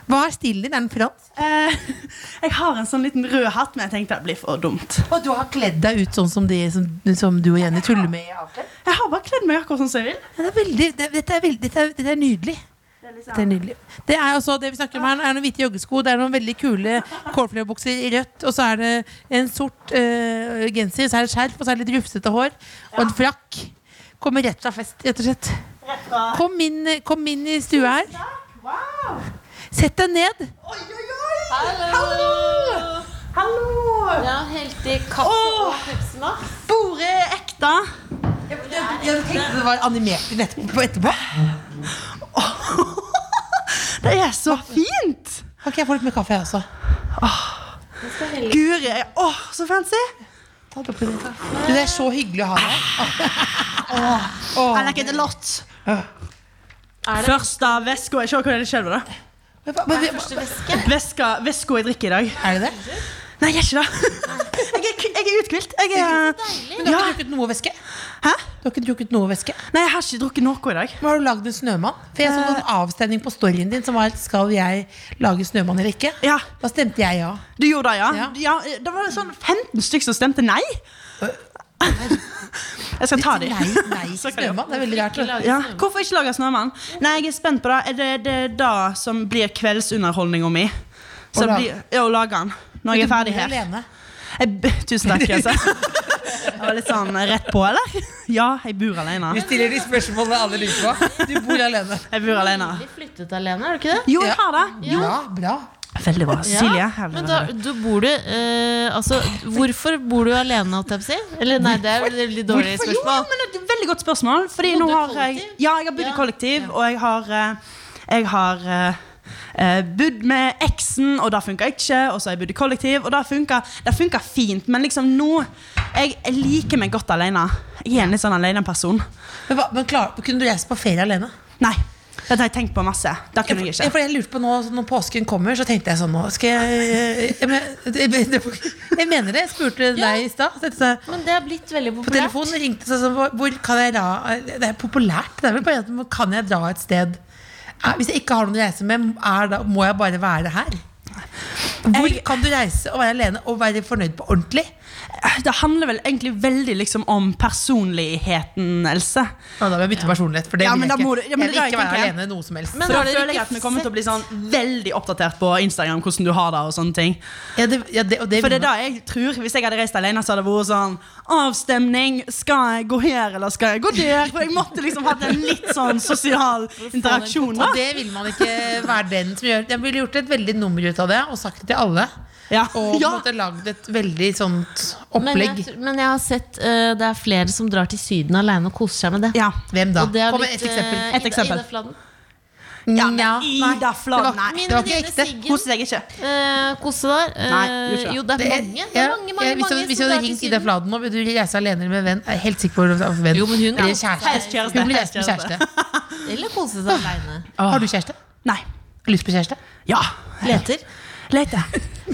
Speaker 4: Hva er stilen din? Er den fransk?
Speaker 7: Eh, [laughs] jeg har en sånn liten rød hatt, men jeg tenkte det blir for dumt.
Speaker 4: Og du har kledd deg ut sånn som, de, som, som du og Jenny tuller med. i avkledd.
Speaker 7: Jeg har bare kledd meg akkurat sånn som jeg vil.
Speaker 4: Ja, Det er veldig, det, dette, er veldig, dette, er, dette er nydelig.
Speaker 7: Det er
Speaker 4: Dette er nydelig. Det er altså det vi snakker om her, er noen hvite joggesko, det er noen veldig kule kålfløyebukser i rødt, og så er det en sort eh, genser, så er det skjerf, og så er det litt rufsete hår, og en frakk. Kommer rett fra fest, rett og slett.
Speaker 7: Rett fra
Speaker 4: Kom inn, kom inn i stua her.
Speaker 7: Wow!
Speaker 4: Sett deg ned.
Speaker 7: Oi, oi, oi! Hallo! Hallo!
Speaker 2: Ja, helt i kaffe
Speaker 7: Åh!
Speaker 2: og Pepsi Max.
Speaker 7: Bordet er ekte.
Speaker 4: Jeg tenkte det var animert nettopp etterpå.
Speaker 7: Det er så fint!
Speaker 4: Ok, jeg får litt mer kaffe, jeg også.
Speaker 7: Guri, jeg- åh, så fancy!
Speaker 4: Ta det oppi det. Du, det er så hyggelig å ha deg.
Speaker 7: I like it a lot. Første veska Jeg ser hva det skjer med det.
Speaker 4: Hva- hva- hva-
Speaker 7: Veska, veska jeg drikker i dag.
Speaker 4: Er det det?
Speaker 7: Nei, jeg gjør ikke det. [laughs] Jeg er, jeg er uthvilt. Jeg er
Speaker 4: Men du har
Speaker 7: Ja.
Speaker 4: ikke drukket noe væske?
Speaker 7: Hæ?
Speaker 4: Du har ikke drukket noe væske?
Speaker 7: Nei, jeg har ikke drukket noe i dag.
Speaker 4: Men har du lagd en snømann? For jeg så
Speaker 7: Eh.
Speaker 4: en sånn avstemning på storyen din som var Skal jeg lage snømann eller ikke?
Speaker 7: Ja,
Speaker 4: Da stemte jeg ja.
Speaker 7: Du gjorde det, ja?
Speaker 4: Ja.
Speaker 7: ja. Det var sånn 15 stykker som stemte nei. Jeg skal ta de.
Speaker 8: Nei,
Speaker 7: [laughs]
Speaker 8: nei, snømann. Det er veldig rart. da.
Speaker 7: Ja. Hvorfor ikke lage snømann? Nei, jeg er spent på det. Er det det er det som blir kveldsunderholdninga mi? Å
Speaker 8: lage-
Speaker 7: lage den når jeg er ferdig her.
Speaker 8: Alene.
Speaker 7: Jeg, b- tusen takk, Kjelse. Jeg var litt sånn rett på, eller? Ja, jeg bor alene.
Speaker 8: Vi stiller de spørsmålene alle lurer på. [laughs] Du bor alene.
Speaker 7: Jeg bor alene.
Speaker 2: Du flyttet alene, er du ikke det?
Speaker 7: Jo, jeg har det.
Speaker 8: Bra, bra.
Speaker 7: Veldig bra. Silje.
Speaker 2: men da, du bor du eh, Altså, hvorfor bor du alene, holdt jeg på å si? Eller nei, det er jo et litt dårlig
Speaker 7: Hvorfor-
Speaker 2: spørsmål.
Speaker 7: Jo, men det er et veldig godt spørsmål. Fordi
Speaker 2: Bodde
Speaker 7: nå har
Speaker 2: du
Speaker 7: jeg,
Speaker 2: kollektiv?
Speaker 7: ja, jeg har bodd i
Speaker 2: Ja.
Speaker 7: kollektiv, og jeg har, eh, jeg har eh, eh, bodd med eksen, og det funka ikke. Og så har jeg bodd i kollektiv, og det funka, det funka fint. Men liksom nå jeg, jeg liker meg godt alene. Jeg er en litt sånn aleneperson.
Speaker 8: Men, hva- men klar, kunne du reist på ferie alene?
Speaker 7: Nei. Dette har jeg tenkt på masse. Det
Speaker 8: Ja,
Speaker 7: kunne
Speaker 8: for,
Speaker 7: jeg
Speaker 8: ja,
Speaker 7: ikke.
Speaker 8: for jeg lurte på nå, Når påsken kommer, så tenkte jeg sånn nå skal jeg, jeg, men- det- det- jeg mener det. Jeg spurte deg i stad. så tenkte jeg,
Speaker 2: Men det er blitt veldig
Speaker 8: På
Speaker 2: populært.
Speaker 8: telefonen ringte jeg sånn hvor- Hvor kan jeg dra? Det er populært. Det er vel bare at man- Kan jeg dra et sted? Er- Hvis jeg ikke har noen å reise med, er da, må jeg bare være her? Hvor
Speaker 7: Jeg-
Speaker 8: kan du reise og være alene og være fornøyd på ordentlig?
Speaker 7: Det handler vel egentlig veldig liksom om personligheten, Else.
Speaker 8: Ja, da må jeg bytte personlighet, for det
Speaker 7: Ja,
Speaker 8: vil
Speaker 7: men
Speaker 8: jeg
Speaker 7: da må
Speaker 8: ikke.
Speaker 7: du- ja,
Speaker 8: jeg
Speaker 7: men
Speaker 8: vil
Speaker 7: det
Speaker 8: ikke
Speaker 7: er det jeg
Speaker 8: være
Speaker 7: tenker.
Speaker 8: alene noe som helst.
Speaker 2: Men
Speaker 7: For da
Speaker 2: har dere
Speaker 7: føler jeg
Speaker 2: ikke
Speaker 7: at vi kommer til å bli sånn
Speaker 2: sett-
Speaker 7: veldig oppdatert på Instagram hvordan du har det. og sånne ting
Speaker 8: Ja, det, ja, det, og det
Speaker 7: For det
Speaker 8: vil
Speaker 7: er da jeg tror Hvis jeg hadde reist alene, så hadde det vært sånn Avstemning. Skal jeg gå her, eller skal jeg gå der? For jeg måtte liksom hatt en litt sånn sosial interaksjon.
Speaker 8: man-
Speaker 7: da
Speaker 8: og det vil man ikke være den som gjør. Jeg ville gjort et veldig nummer ut av det og sagt det til alle.
Speaker 7: Ja.
Speaker 8: Og på en
Speaker 7: ja.
Speaker 8: måte lagd et veldig sånt
Speaker 2: Men
Speaker 8: opplegg.
Speaker 2: jeg, men jeg har sett eh, det er flere som drar til Syden alene og koser seg med det.
Speaker 7: ja.
Speaker 8: Hvem da?
Speaker 2: Og det er
Speaker 8: Kom med
Speaker 2: blitt,
Speaker 8: et eksempel.
Speaker 2: eh,
Speaker 7: Et eksempel.
Speaker 2: Ida, Ida Fladen.
Speaker 8: eh, Ja,
Speaker 7: Ida Fladen,
Speaker 8: det var-
Speaker 7: nei.
Speaker 8: Det var ikke
Speaker 2: venninne
Speaker 8: ekte.
Speaker 2: Siggen,
Speaker 7: Koser deg ikke.
Speaker 2: eh, kose der. Eh,
Speaker 7: Nei, gjør ikke det.
Speaker 2: jo, det er
Speaker 8: Det er-
Speaker 2: mange. Det er
Speaker 8: ja,
Speaker 2: mange,
Speaker 8: ja,
Speaker 2: mange,
Speaker 8: hvis du-
Speaker 2: mange
Speaker 8: Hvis du
Speaker 2: som drar
Speaker 8: hadde
Speaker 2: til
Speaker 8: ringt Ida
Speaker 2: Syden.
Speaker 8: Fladen nå, vil du reise alene eller med venn? Jeg er helt sikker på hvor du venn.
Speaker 2: Jo, men hun-
Speaker 8: Eller
Speaker 7: Kjæreste,
Speaker 8: kjæreste. Hun vil reise med
Speaker 7: kjæreste.
Speaker 8: kjæreste.
Speaker 2: Eller kose seg alene
Speaker 8: Har du kjæreste?
Speaker 7: Nei.
Speaker 8: Lyst på kjæreste?
Speaker 7: Ja.
Speaker 2: Leter.
Speaker 7: Lete.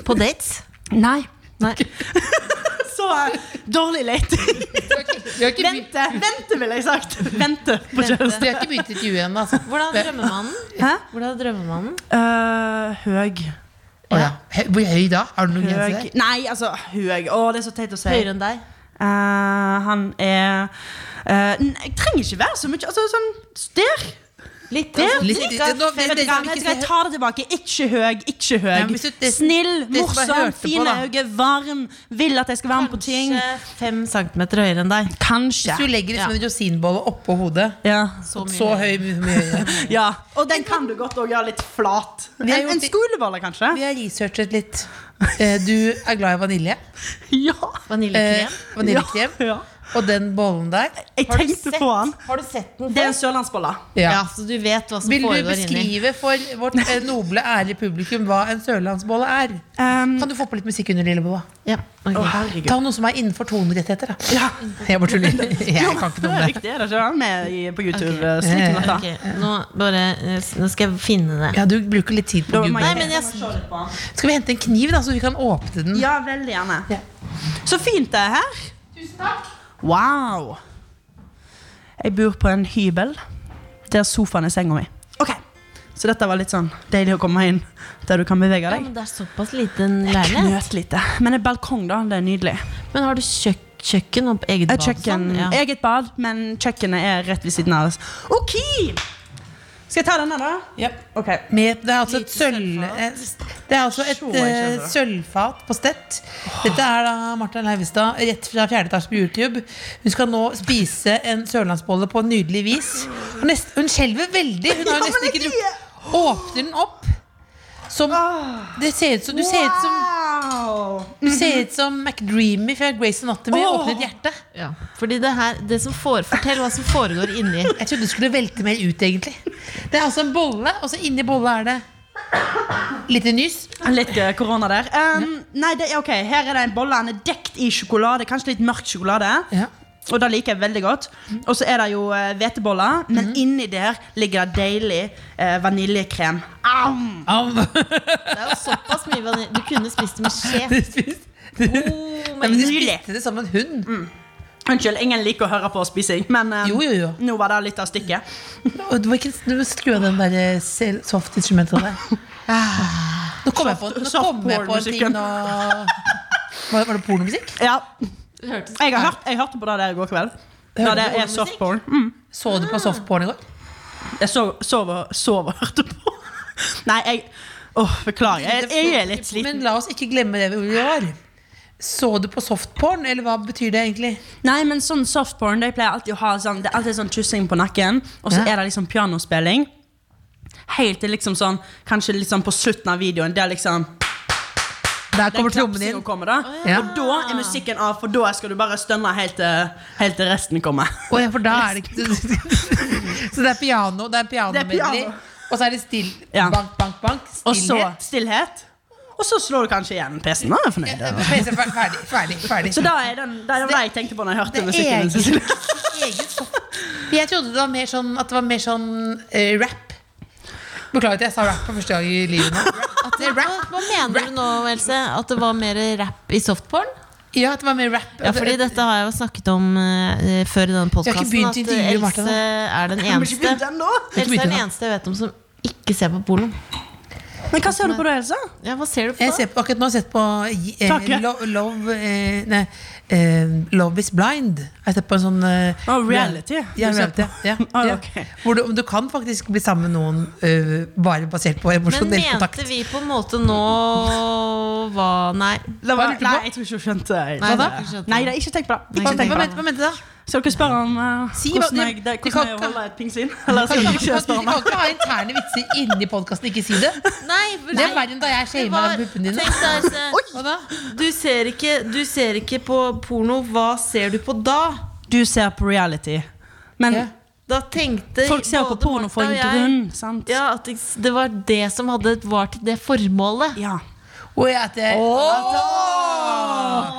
Speaker 2: På dates.
Speaker 7: Nei.
Speaker 2: Nei.
Speaker 7: Så eh, dårlig leting.
Speaker 8: Vi har ikke, begynt-
Speaker 7: Vente, vente, ville jeg sagt. Vente på kjøresten.
Speaker 8: vi har ikke begynt intervjuet ennå, altså.
Speaker 2: Hvordan er drømmemannen?
Speaker 7: Hæ?
Speaker 2: Hvordan er drømmemannen?
Speaker 7: Eh, høg.
Speaker 8: Å ja. Hø- Hvor høy da? Har du noen grense der?
Speaker 7: Høg Nei, altså høg. Å, det er så teit å si.
Speaker 2: Høyere enn deg?
Speaker 7: Eh, han er eh, n- Jeg trenger ikke være så mye altså, sånn, Der!
Speaker 2: Litt.
Speaker 7: Der!
Speaker 2: altså,
Speaker 8: Litt-
Speaker 2: cirka
Speaker 8: det- nå-
Speaker 2: fem-
Speaker 8: det-
Speaker 7: Vet du hva, vet du hva, jeg tar det tilbake. Ikke høg, ikke
Speaker 8: Nei,
Speaker 7: høg.
Speaker 8: men hvis du- det-
Speaker 7: Snill,
Speaker 8: det som jeg
Speaker 7: morsom,
Speaker 8: hørte på,
Speaker 7: fine
Speaker 8: da.
Speaker 7: øyne, varm. Vil at jeg skal være med på ting.
Speaker 2: Kanskje fem centimeter høyere enn deg.
Speaker 7: Kanskje.
Speaker 8: Hvis Sånn. du legger det som en rosinbolle oppå hodet,
Speaker 7: Ja.
Speaker 2: Så mye.
Speaker 8: så høy mye høyere.
Speaker 7: ja. Og den kan du godt òg gjøre litt flat. En,
Speaker 8: har gjort
Speaker 7: en
Speaker 8: det-
Speaker 7: skolebolle, kanskje?
Speaker 8: Vi har researchet litt. Eh, Du er glad i vanilje.
Speaker 7: Ja.
Speaker 8: Eh,
Speaker 2: Vaniljekrem.
Speaker 8: Vaniljekrem.
Speaker 7: Ja.
Speaker 8: Og den bollen der.
Speaker 7: Jeg
Speaker 2: Har du
Speaker 7: tenkte
Speaker 2: sett-
Speaker 7: på han.
Speaker 2: Har du sett den
Speaker 7: Det er
Speaker 2: før?
Speaker 7: en sørlandsbolle.
Speaker 2: Ja.
Speaker 8: Ja.
Speaker 2: så du vet hva som
Speaker 8: Vil du
Speaker 2: foregår inni.
Speaker 8: beskrive for vårt eh, noble, ærlige publikum hva en sørlandsbolle er?
Speaker 7: Um,
Speaker 8: Kan du få på litt musikk under lillebolla?
Speaker 2: Ja, ok.
Speaker 7: å, herregud.
Speaker 8: Ta noe som er innenfor tonerettigheter, da.
Speaker 7: Ja.
Speaker 8: Jeg bare tuller. Jeg kan ikke
Speaker 7: Det
Speaker 8: noe
Speaker 7: er
Speaker 8: om det.
Speaker 7: riktig, er det ikke? Han er i- på YouTube.
Speaker 2: Ok.
Speaker 7: eh, Slik med dette.
Speaker 2: Ok, nå, bare, eh, s- nå skal jeg finne det.
Speaker 8: Ja, du bruker litt tid på
Speaker 7: Da
Speaker 8: å
Speaker 7: må
Speaker 8: google.
Speaker 2: Nei,
Speaker 7: jeg-
Speaker 2: men jeg-
Speaker 7: jeg må se litt på han.
Speaker 8: Skal vi hente en kniv, da, så vi kan åpne
Speaker 2: Mm.
Speaker 8: den?
Speaker 7: Ja, veldig gjerne.
Speaker 8: Ja.
Speaker 7: Så fint det er her. Tusen takk. Wow. Jeg bor på en hybel der sofaen er senga mi. Ok, Så dette var litt sånn deilig å komme inn der du kan bevege
Speaker 2: Ja,
Speaker 7: deg.
Speaker 2: men det er såpass liten leilighet.
Speaker 7: Knøt lite. Men en balkong, da. Det er nydelig.
Speaker 2: Men har du kjøk kjøkken og eget
Speaker 7: Et
Speaker 2: bad?
Speaker 7: kjøkken,
Speaker 2: Sånn? Ja.
Speaker 8: Mm.
Speaker 7: Eget bad, men kjøkkenet er rett ved siden av oss. OK! Skal jeg ta denne, da? Ok.
Speaker 8: Med, det er altså et sølv... eh, Det er altså et
Speaker 7: Så
Speaker 8: eh,
Speaker 7: kjempe.
Speaker 8: sølvfat på stett. Dette er da Martha Leivestad rett fra fjerde etasje på YouTube. Hun skal nå spise en sørlandsbolle på nydelig vis. Og nest, hun skjelver veldig. Hun har jo nesten ikke drukket. Åpner den opp. Som, det ser ut som, du ser ut som
Speaker 7: Ah, Wow!
Speaker 8: Du ser ut som McDreamy fra Grace Anatomy.
Speaker 7: Åh.
Speaker 8: Åpner et hjerte.
Speaker 2: Ja. Fordi det her, det som fore- fortell hva som foregår inni.
Speaker 8: Jeg trodde det skulle velte mer ut, egentlig. Det er altså en bolle, og så inni bolla er det lite nys.
Speaker 7: Litt eh, korona der. Um, nei, det, er ok, Her er det en bolle. Den er dekt i sjokolade. Kanskje litt mørk sjokolade.
Speaker 8: Ja. Mhm.
Speaker 7: Og det liker jeg veldig godt. Og så er det jo eh, hveteboller, men inni der ligger det deilig eh, vaniljekrem. Am!
Speaker 2: Det er jo såpass mye vanilje. Du kunne spist det med skje.
Speaker 8: [laughs] Du spiste, du,
Speaker 2: Oh,
Speaker 8: Nei,
Speaker 2: men
Speaker 8: men du
Speaker 7: nydelig.
Speaker 8: spiste det som en hund.
Speaker 7: Unnskyld, ingen liker å høre på spising, men eh,
Speaker 8: Jo, jo, jo.
Speaker 7: nå var det litt av stykket.
Speaker 8: Og du må ikke du må skru av den der eh, sel- soft-instrumentet der. Ah. Nå kom jeg på, nå
Speaker 7: Soft-
Speaker 8: kom jeg på en ting
Speaker 7: soft-pornomusikken.
Speaker 8: nå. Var, var det pornomusikk?
Speaker 7: Ja,
Speaker 2: det hørtes
Speaker 7: jeg har hørt, jeg hørte på det der i går kveld. Ja, det
Speaker 8: Hørte du
Speaker 7: er softporn. Mm.
Speaker 8: Så du på softporn i går?
Speaker 7: Jeg sov, sov, og- sov og hørte på. [laughs] Nei, jeg Åh, beklager. Jeg, jeg er litt sliten.
Speaker 8: Men la oss ikke glemme det hvor vi var. Så du på softporn, eller hva betyr det egentlig?
Speaker 7: Nei, men sånn softporn De pleier alltid å ha sånn Det er alltid sånn kyssing på nakken, og så
Speaker 8: Ja.
Speaker 7: er det liksom pianospilling. Helt til liksom sånn Kanskje liksom på slutten av videoen. Der liksom
Speaker 8: Der
Speaker 7: den
Speaker 8: kommer trommen
Speaker 7: knapsen
Speaker 8: inn.
Speaker 7: kommer da
Speaker 8: ja.
Speaker 7: Og da er musikken av, for da skal du bare stønne helt til, helt til resten
Speaker 8: [laughs]
Speaker 7: kommer.
Speaker 8: Å ja, for da er det ikke [laughs] Så det er piano, det er
Speaker 7: Det er
Speaker 8: pianomedley,
Speaker 7: piano.
Speaker 8: og så er det still
Speaker 7: Ja.
Speaker 8: bank, bank, bank.
Speaker 7: Og så
Speaker 8: Stillhet.
Speaker 7: stillhet. Og så slår du kanskje igjen PC-en. Da er jeg fornøyd.
Speaker 8: PC, fer- Ferdig, ferdig. ferdig.
Speaker 7: Så da er den, det er det jeg tenkte på når jeg hørte
Speaker 8: det er
Speaker 7: musikken.
Speaker 8: egen-
Speaker 7: Cecilie.
Speaker 8: Egen soft. Jeg trodde det var mer sånn, at det var mer sånn eh, rap. Beklager at jeg sa rap for første gang i livet nå. At det er
Speaker 2: Hva,
Speaker 8: rap.
Speaker 2: hva mener du nå, Else? At det var mer rap i softporn?
Speaker 8: Ja, at det var mer rap.
Speaker 2: Ja, fordi dette har jeg jo snakket om eh, før i denne
Speaker 8: har ikke
Speaker 2: podkasten.
Speaker 8: begynt
Speaker 2: At
Speaker 8: intervjuet, Martha,
Speaker 2: Else er den
Speaker 7: Kan vi ikke
Speaker 2: eneste
Speaker 7: begynne den da?
Speaker 2: Else er
Speaker 8: begynne
Speaker 2: den
Speaker 8: da.
Speaker 2: eneste jeg vet om som ikke ser på porno.
Speaker 7: Men hva ser du på da, Elsa?
Speaker 2: Ja, hva ser du på?
Speaker 8: Jeg ser på, akkurat nå har jeg sett på
Speaker 7: Takk, ja.
Speaker 8: eh, Love, Love, eh, nei, eh, Love is Blind. Jeg har sett på en sånn eh,
Speaker 7: Oh, reality.
Speaker 8: Ja,
Speaker 7: Du ser
Speaker 8: reality. Ja,
Speaker 7: [laughs] Ah,
Speaker 8: ja.
Speaker 7: ok.
Speaker 8: Hvor du, om du kan faktisk bli sammen med noen eh, bare basert på
Speaker 2: Men
Speaker 8: emosjonell
Speaker 2: mente
Speaker 8: kontakt.
Speaker 2: vi på en måte nå hva Nei.
Speaker 7: Det
Speaker 8: Hva
Speaker 7: var,
Speaker 8: lurte du
Speaker 7: nei,
Speaker 8: på?
Speaker 7: jeg tror ikke hun skjønte
Speaker 2: Nei,
Speaker 7: Nei,
Speaker 2: da? Ikke skjønte.
Speaker 7: nei, da, ikke tenk på det.
Speaker 8: Hva
Speaker 7: Ikke
Speaker 8: hva
Speaker 7: tenk på
Speaker 8: mente
Speaker 7: det.
Speaker 8: hva mente du da?
Speaker 7: Skal dere spørre om eh,
Speaker 8: Si hva-
Speaker 7: hvordan jeg, det,
Speaker 8: de kan
Speaker 7: hvordan jeg
Speaker 8: ikke-
Speaker 7: holder et pinnsvin? [laughs] Eller
Speaker 8: Kan
Speaker 7: skal
Speaker 8: du
Speaker 7: dere
Speaker 8: ikke,
Speaker 7: ikke
Speaker 8: kan du
Speaker 7: spørre
Speaker 8: kan
Speaker 7: meg?
Speaker 8: ikke ha interne vitser inni podkasten og ikke si det?
Speaker 2: nei
Speaker 8: Det er verre enn da jeg shama puppene dine.
Speaker 2: Tenk deg, Else.
Speaker 8: Hva da?
Speaker 2: altså. Du ser, ikke, du ser ikke på porno. Hva ser du på da?
Speaker 7: Du ser på reality. Men
Speaker 8: Ja.
Speaker 2: Da tenkte
Speaker 7: folk ser på
Speaker 2: både
Speaker 7: porno for
Speaker 2: Martha
Speaker 7: en
Speaker 2: og jeg-
Speaker 7: grunn, sant?
Speaker 2: Ja, at det- det var det som hadde, var til det formålet.
Speaker 7: Ja.
Speaker 8: Og jeg at jeg,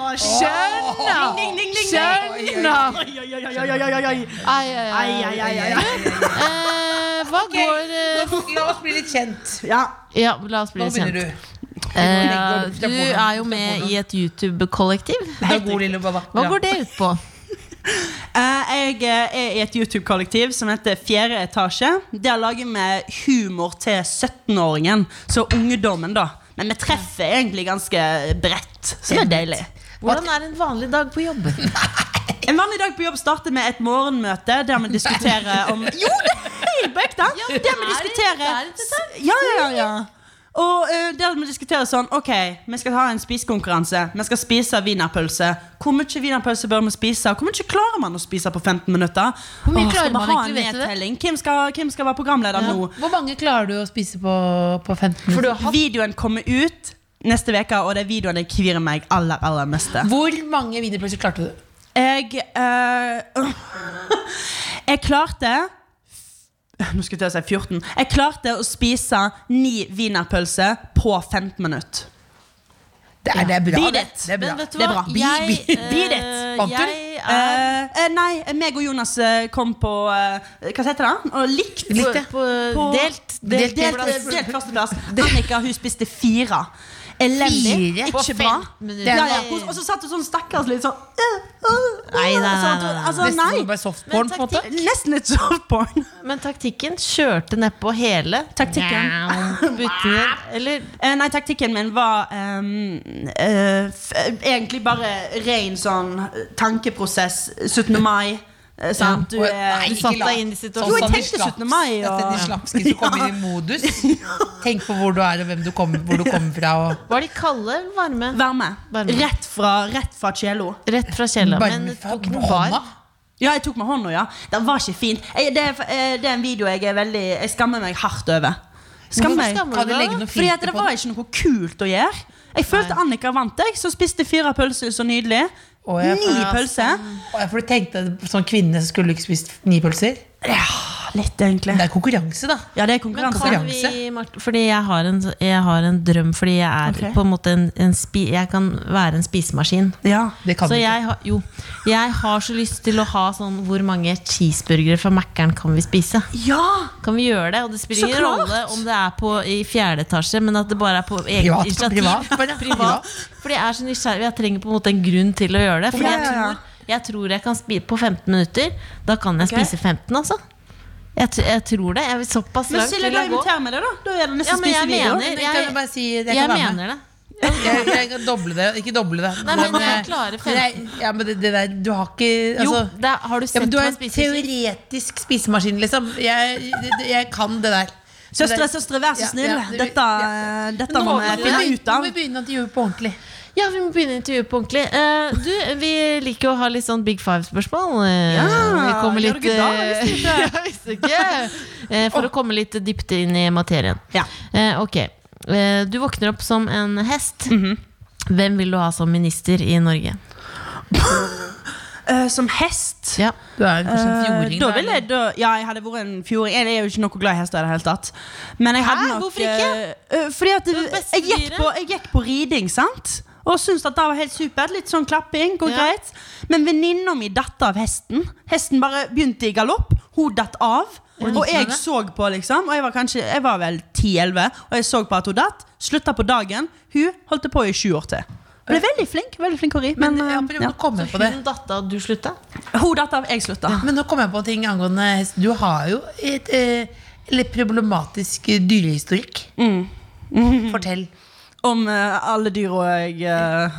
Speaker 7: Skjønner!
Speaker 8: Skjønner!
Speaker 7: Oi, oi, oi, oi, oi, oi, oi.
Speaker 2: Ai, ai, ai.
Speaker 7: Ai, ai, ai, ai, ai.
Speaker 2: Eh, hva går eh,
Speaker 8: La oss bli litt kjent.
Speaker 7: Ja.
Speaker 2: Ja, la oss bli
Speaker 8: Nå
Speaker 2: kjent.
Speaker 8: begynner du.
Speaker 2: Eh,
Speaker 8: Du
Speaker 2: du er jo med i et YouTube-kollektiv.
Speaker 8: Du er god, lille baba.
Speaker 2: Hva
Speaker 8: Ja.
Speaker 2: går det ut på?
Speaker 7: Eh, jeg eh, er i et YouTube-kollektiv som heter Fjerde etasje. Der lager vi humor til 17-åringen, så ungdommen, da. Men vi treffer egentlig ganske bredt, så det er deilig.
Speaker 2: Hvordan er en vanlig dag på jobb?
Speaker 7: En vanlig dag på jobb starter med et morgenmøte der vi diskuterer om Jo, det er helt på ekte!
Speaker 2: Ja, det
Speaker 7: Der vi
Speaker 2: er-
Speaker 7: diskuterer
Speaker 2: det er interessant.
Speaker 7: Ja, ja, ja. Og eh, der vi diskuterer sånn Ok, vi skal ha en spisekonkurranse. Vi skal spise wienerpølse. Hvor mye wienerpølse bør vi spise? Hvor mye klarer man å spise på 15 minutter?
Speaker 8: Hvor mye
Speaker 7: Åh, skal
Speaker 8: klarer man
Speaker 7: vi ha en
Speaker 8: egentlig, vet du det?
Speaker 7: nedtelling? Hvem skal, hvem skal være programleder nå?
Speaker 8: Hvor mange klarer du å spise på, på 15
Speaker 2: For du
Speaker 8: minutter?
Speaker 2: har hatt
Speaker 7: Videoen kommer ut neste uke, og det er videoen jeg kvirer meg aller, aller meste.
Speaker 8: Hvor mange wienerpølser klarte du?
Speaker 7: Jeg eh, [laughs] Jeg klarte Nå skulle jeg til å si 14. Jeg klarte å spise ni wienerpølser på 15 minutter.
Speaker 8: Det er, det er bra.
Speaker 7: Beat
Speaker 8: Det,
Speaker 7: it.
Speaker 8: det er bra.
Speaker 2: Men vet du
Speaker 7: Det er
Speaker 2: hva?
Speaker 7: bra.
Speaker 2: Jeg,
Speaker 7: Beat it. Beat it.
Speaker 2: eh,
Speaker 8: Vant du?
Speaker 2: jeg er
Speaker 7: Eh, eh, nei, meg og Jonas eh, kom på eh, Hva heter det? Og likt.
Speaker 8: Likt, ja.
Speaker 2: på, på
Speaker 7: På-
Speaker 2: delt.
Speaker 8: Delt-
Speaker 7: Delt, delt,
Speaker 8: plass.
Speaker 7: delt, delt
Speaker 8: [laughs]
Speaker 7: førsteplass. Annika hun spiste fire. Elendig.
Speaker 8: Fire?
Speaker 7: Ikke bra.
Speaker 2: minutter.
Speaker 7: Ja, ja. hun- Og så satt hun sånn stakkars litt sånn øh, øh,
Speaker 2: Nei, nei, nei,
Speaker 7: sånn at
Speaker 2: nei,
Speaker 7: hun-
Speaker 2: nei.
Speaker 7: Altså,
Speaker 8: Nesten som
Speaker 7: nei.
Speaker 8: bare softporn. på en måte.
Speaker 7: Nesten et softporn.
Speaker 2: Men taktikken kjørte nedpå hele
Speaker 7: Taktikken.
Speaker 2: buttene. Eller
Speaker 7: Eh, nei, taktikken min var ehm, eh, f egentlig bare ren sånn tankeprosess. 17. mai. eh, sant? Du
Speaker 8: Nei,
Speaker 7: er
Speaker 8: ikke
Speaker 2: satt deg
Speaker 8: la-
Speaker 2: inn i situasjonen.
Speaker 8: Sånn som de
Speaker 7: Jo, jeg tenkte
Speaker 8: slapp-
Speaker 7: 17. mai, og-
Speaker 8: At de slapske som [laughs] kommer inn i modus. Tenk på hvor du er, og hvem du kommer, hvor du kommer fra. Og
Speaker 2: var de kalde eller varme?
Speaker 7: varme.
Speaker 2: Varme.
Speaker 7: Rett fra, rett fra kjelo.
Speaker 2: Rett fra kjela. Men
Speaker 8: varme fra
Speaker 2: tok den
Speaker 8: hånda.
Speaker 2: var?
Speaker 7: Ja, jeg tok med hånda, ja. Det var ikke fint. Jeg, det, er- eh, det er en video jeg er veldig Jeg skammer meg hardt over.
Speaker 2: Hvorfor
Speaker 7: Skammer meg.
Speaker 2: skammer
Speaker 8: Kan
Speaker 2: du deg?
Speaker 8: du legge
Speaker 2: da?
Speaker 8: noe
Speaker 7: Fordi at
Speaker 8: filter
Speaker 7: det
Speaker 8: på
Speaker 7: var
Speaker 8: det?
Speaker 7: ikke noe kult å gjøre. Jeg følte Annika vant, jeg, som spiste fire pølser så nydelig.
Speaker 8: Å, jeg-
Speaker 7: Ni pølser.
Speaker 8: Å, ja, For du tenkte at som kvinne så skulle du ikke spist ni pølser?
Speaker 7: Ja, litt, egentlig.
Speaker 8: Det er konkurranse, da.
Speaker 7: Ja, det er
Speaker 2: Men
Speaker 7: konkurranse.
Speaker 2: kan vi, Marte, fordi jeg har, en, jeg har en drøm, fordi jeg er
Speaker 7: Ok.
Speaker 2: på en måte en, en spi, Jeg kan være en spisemaskin.
Speaker 7: Ja.
Speaker 8: Det kan
Speaker 2: Så
Speaker 8: du ikke.
Speaker 2: jeg har, jo, jeg har så lyst til å ha sånn Hvor mange cheeseburgere fra Mækkern kan vi spise?
Speaker 7: ja!
Speaker 2: Kan vi gjøre det? Og det
Speaker 7: Så
Speaker 2: spiller ingen
Speaker 7: klart!
Speaker 2: rolle om det er på, i fjerde etasje, men at det bare er på eget
Speaker 8: Privat,
Speaker 2: initiativ.
Speaker 8: privat,
Speaker 2: [laughs]
Speaker 8: bare. Privat.
Speaker 2: Fordi jeg er så nysgjerrig. Jeg trenger på en måte en grunn til å gjøre det. Fordi
Speaker 7: Ja,
Speaker 2: jeg
Speaker 7: ja, ja.
Speaker 2: tror jeg, tror jeg kan spise på 15 minutter. Da kan jeg
Speaker 7: Ok.
Speaker 2: spise 15, altså. Jeg, t- jeg tror det. Jeg vil såpass
Speaker 7: Men
Speaker 2: langt
Speaker 7: Silje,
Speaker 2: vil
Speaker 7: da
Speaker 2: jeg gå.
Speaker 7: inviterer vi deg, da. Da er
Speaker 2: Ja,
Speaker 7: det nesten
Speaker 2: men jeg
Speaker 7: spisevideo.
Speaker 2: mener-
Speaker 8: Men kan du bare si, jeg
Speaker 2: Jeg
Speaker 8: kan være med?
Speaker 2: mener det.
Speaker 8: Jeg, jeg kan doble det. Ikke doble det.
Speaker 4: Nei, men jeg
Speaker 8: eh,
Speaker 4: klarer
Speaker 8: men jeg- Ja, men det, det der Du har ikke
Speaker 4: Jo,
Speaker 8: altså,
Speaker 4: det, har du
Speaker 8: ja,
Speaker 4: sett
Speaker 8: men Du
Speaker 4: hva
Speaker 8: har
Speaker 4: han
Speaker 8: en
Speaker 4: spiser?
Speaker 8: teoretisk spisemaskin, liksom. Jeg, det- jeg kan det der. Så
Speaker 7: Søstre,
Speaker 8: det-
Speaker 7: søstre, vær så
Speaker 8: Ja,
Speaker 7: snill.
Speaker 8: ja, det-
Speaker 7: Dette, eh,
Speaker 8: ja.
Speaker 7: dette må
Speaker 8: Nå
Speaker 7: vi
Speaker 8: må
Speaker 7: finne
Speaker 8: vi-
Speaker 7: ut av.
Speaker 8: Nå må vi begynne at de gjør på ordentlig.
Speaker 4: Ja, vi må begynne intervjuet på ordentlig. Eh, du, vi liker jo å ha litt sånn Big Five-spørsmål. Eh,
Speaker 7: Ja,
Speaker 4: vi kommer
Speaker 7: gjør
Speaker 4: litt
Speaker 7: du ikke da,
Speaker 4: eh,
Speaker 7: hvis
Speaker 4: ja, hvis ikke. [laughs] Eh, For å komme litt dypt inn i materien.
Speaker 7: Ja.
Speaker 4: Eh, ok, eh, du våkner opp som en hest. Hvem vil du ha som minister i Norge?
Speaker 7: Eh, som hest
Speaker 4: Ja,
Speaker 8: Du er kanskje en
Speaker 7: eh,
Speaker 8: fjoring.
Speaker 7: da
Speaker 8: da,
Speaker 7: ville jeg, da, ja, jeg hadde vært en fjording. Jeg er jo ikke noe glad i hester i det hele tatt. Men jeg hadde
Speaker 4: Hæ?
Speaker 7: nok
Speaker 4: Hvorfor ikke?
Speaker 7: eh, eh, Fordi at
Speaker 4: er det beste
Speaker 7: jeg gikk,
Speaker 4: dyret.
Speaker 7: på, jeg gikk på riding, sant? Og syntes at det var helt supert. Litt sånn klapping, går
Speaker 4: Ja.
Speaker 7: greit. Men venninna mi datt av hesten. Hesten bare begynte i galopp. Hun datt av. Og jeg så på, liksom. Og jeg var, kanskje, jeg var vel 10-11, og jeg så på at hun datt. Slutta på dagen. Hun holdt på i sju år til. Ble veldig flink. veldig flink å ri.
Speaker 8: Men,
Speaker 7: Men,
Speaker 8: ja,
Speaker 7: eh,
Speaker 8: prøv,
Speaker 7: ja.
Speaker 8: Nå kom jeg på det.
Speaker 4: Hun datt av, du slutta?
Speaker 7: Hun datt av, jeg slutta.
Speaker 8: Men nå kom jeg på ting angående hest. Du har jo et eh, litt problematisk eh, dyrehistorikk.
Speaker 7: Mm. [laughs]
Speaker 8: Fortell.
Speaker 7: Om eh, alle dyra jeg eh,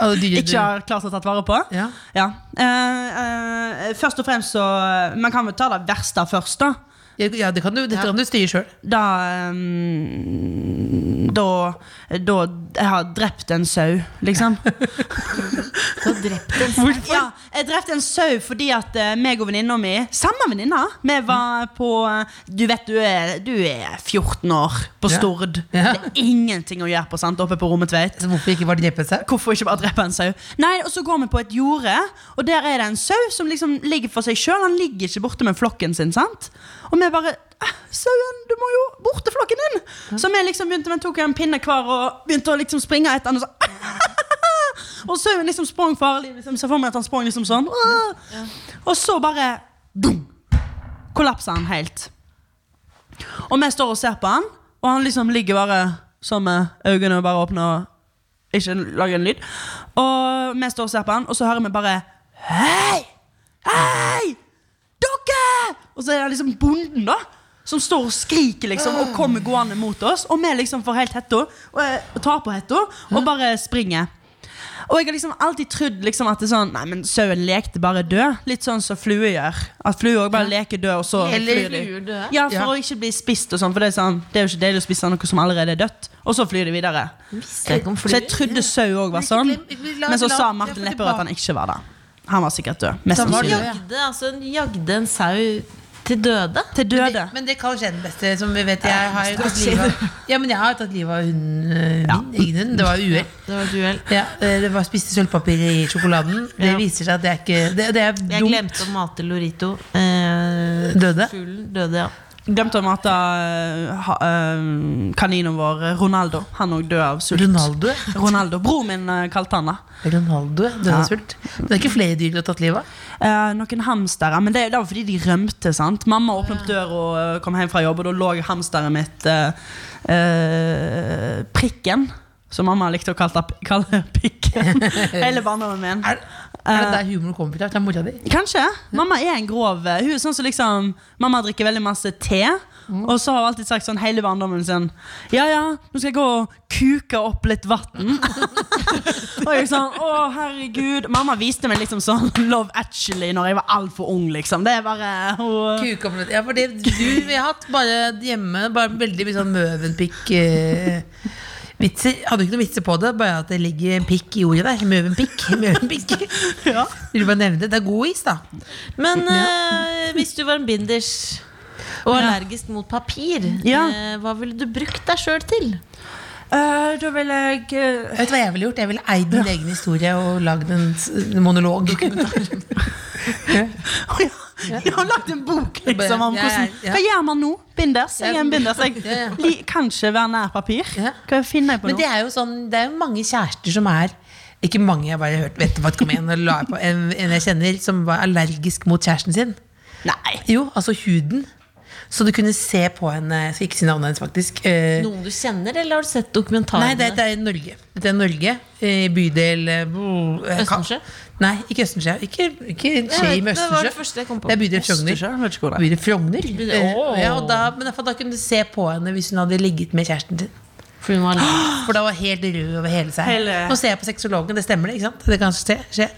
Speaker 8: Alle Altså, dyre,
Speaker 7: ikke har klart å tatt vare på.
Speaker 8: Ja.
Speaker 7: Eh, eh, først og fremst så eh, Man kan vel ta det verste først, da.
Speaker 8: Ja, det kan du, dette kan du styre sjøl.
Speaker 7: Da eh, da, da jeg har drept en sau,
Speaker 8: [laughs]
Speaker 7: liksom.
Speaker 4: Du har drept en
Speaker 7: Ja, jeg drepte en sau fordi at eh, meg og venninna mi Samme venninna! Vi var på eh, Du vet, du er, du er 14 år på
Speaker 8: Ja.
Speaker 7: Stord.
Speaker 8: Ja.
Speaker 7: Det er ingenting å gjøre på, sant? oppe på Rommetveit.
Speaker 8: Altså, Hvorfor ikke bare drepe seg?
Speaker 7: Hvorfor ikke bare drepe en sau? Nei, og så går vi på et jorde, og der er det en sau som liksom ligger for seg sjøl. Han ligger ikke borte med flokken sin, sant? Og vi bare «Ah, Sauen, du må jo bort til flokken din! Så vi liksom begynte, vi tok en pinne hver og begynte å liksom springe etter han og så Og sauen liksom sprang farlig. Liksom, så for meg at han sprang liksom sånn. «Åh!» Og så bare boom, kollapsa han helt. Og vi står og ser på han, og han liksom ligger bare sånn med øynene bare åpne og ikke lager en lyd. Og vi står og ser på han, og så hører vi bare Hei! Hei! Dere! Og så er det liksom bonden, da. Som står og skriker liksom og kommer gående mot oss. Og vi liksom får helt hetta og eh, tar på hetta og bare springer. Og jeg har liksom alltid trodd liksom at det er sånn Nei, men sauen lekte bare død. Litt sånn som flue gjør. At flue også bare leker død, og så
Speaker 8: Eller
Speaker 7: flyr de.
Speaker 4: fluer døde.
Speaker 7: Ja,
Speaker 8: Ja.
Speaker 7: for å ikke bli spist og sånn. For det er, sånn, det er jo ikke deilig å spise noe som allerede er dødt. Og så flyr de videre.
Speaker 4: Visste jeg ikke om
Speaker 7: Så jeg
Speaker 4: fluer.
Speaker 7: trodde sau òg var sånn. Men så sa Martin Lepperød at han ikke var det. Han var sikkert død. Mest
Speaker 8: Da var
Speaker 7: sannsynlig.
Speaker 8: det-
Speaker 4: Jagde, altså, hun jagde en sau til døde?
Speaker 7: Til døde.
Speaker 8: Men det kan skje den beste, som vi vet. Jeg har jo tatt livet av Ja, men jeg har jo tatt livet av hunden eh, min. Egen hund. Det var jo uhell.
Speaker 4: Det var et uhell.
Speaker 8: Ja, eh, det var spiste sølvpapir i sjokoladen. Det
Speaker 4: Ja.
Speaker 8: viser seg at det er ikke Det, det er
Speaker 4: Jeg
Speaker 8: dumt.
Speaker 4: glemte å mate Lorito. Eh,
Speaker 8: Døde?
Speaker 4: Fuglen døde, ja.
Speaker 7: Glemte å mate øh, ha- øh, kaninen vår øh, Ronaldo. Han òg døde av sult.
Speaker 8: Ronaldo.
Speaker 7: Ronaldo. Broren min øh, kalte han det.
Speaker 8: Ronaldo ja. døde
Speaker 7: Ja.
Speaker 8: av sult. Men Det er ikke flere dyr du har tatt livet av?
Speaker 7: Eh, noen hamstere, men det, det var fordi de rømte. sant? Mamma åpnet opp døra og øh, kom hjem fra jobb, og da lå hamsteret mitt eh, eh, Prikken. Som mamma likte å kalle, det- kalle [laughs] pikken. Hele barndommen min.
Speaker 8: Er, er det der humoren kommer fra? Fra mora di?
Speaker 7: Kanskje. Mamma er en grov eh, Hun er sånn som liksom Mamma drikker veldig masse te.
Speaker 8: Mm.
Speaker 7: Og så har hun alltid sagt sånn hele barndommen sin Ja ja, nå skal jeg gå og kuke opp litt vann. [laughs] og jeg sånn Å, herregud. Mamma viste meg liksom sånn Love Actually når jeg var altfor ung, liksom. Det er bare hun
Speaker 8: Kuka på litt. Ja, for det du vi har hatt bare hjemme Bare veldig mye sånn Møvenpikk-vitser. Hadde ikke noen vitser på det, bare at det ligger en pikk i ordet der. Møvenpikk. [laughs] Møvenpikk.
Speaker 7: Ja.
Speaker 8: Vil du bare nevne det? Det er god is, da.
Speaker 4: Men eh, hvis du var en binders og allergisk mot papir,
Speaker 7: Ja.
Speaker 4: eh, hva ville du brukt deg sjøl til?
Speaker 7: Eh, Da vil jeg eh,
Speaker 8: Jeg vet du hva jeg ville gjort? Jeg ville eid min egen historie og lagd en s- en monolog.
Speaker 7: Å ja. Jeg har lagd en bok liksom, om
Speaker 8: Ja, ja,
Speaker 7: hvordan
Speaker 8: ja.
Speaker 7: Hva gjør man nå? Binders? Jeg er en binders.
Speaker 8: Ja, ja.
Speaker 7: Jeg li- kan ikke være nær papir.
Speaker 8: Ja.
Speaker 7: Hva finner jeg på
Speaker 8: Men
Speaker 7: nå?
Speaker 8: det er jo sånn, det er jo mange kjærester som er Ikke mange, jeg bare hørt, vet faktisk om en, eller la jeg på, en, en jeg kjenner som var allergisk mot kjæresten sin.
Speaker 7: Nei.
Speaker 8: Jo, altså huden. Så du kunne se på henne Jeg skal ikke si navnet hennes, faktisk. Eh,
Speaker 4: Noen du kjenner, eller har du sett dokumentarene?
Speaker 8: nei, det, det er i Norge. Dette er Norge. eh, bydel eh, bo- eh, Ka-
Speaker 4: Østensjø?
Speaker 8: Nei, ikke Østensjø. Ikke, ikke Skei
Speaker 4: Jeg
Speaker 8: med
Speaker 4: vet, det var det
Speaker 8: Østensjø.
Speaker 4: første jeg kom på.
Speaker 8: Det er bydel Frogner.
Speaker 7: Østersjø? Vet ikke hvor det er.
Speaker 8: Bydel Frogner.
Speaker 4: Bydel-
Speaker 8: Eh,
Speaker 4: Åh.
Speaker 8: ja, og da, men i hvert fall da kunne du se på henne hvis hun hadde ligget med kjæresten sin.
Speaker 2: For hun var litt
Speaker 8: For da var hun helt rød over hele seg.
Speaker 7: Hele-
Speaker 8: Nå ser jeg på sexologen, det stemmer det? ikke sant? Det kan skje. skje.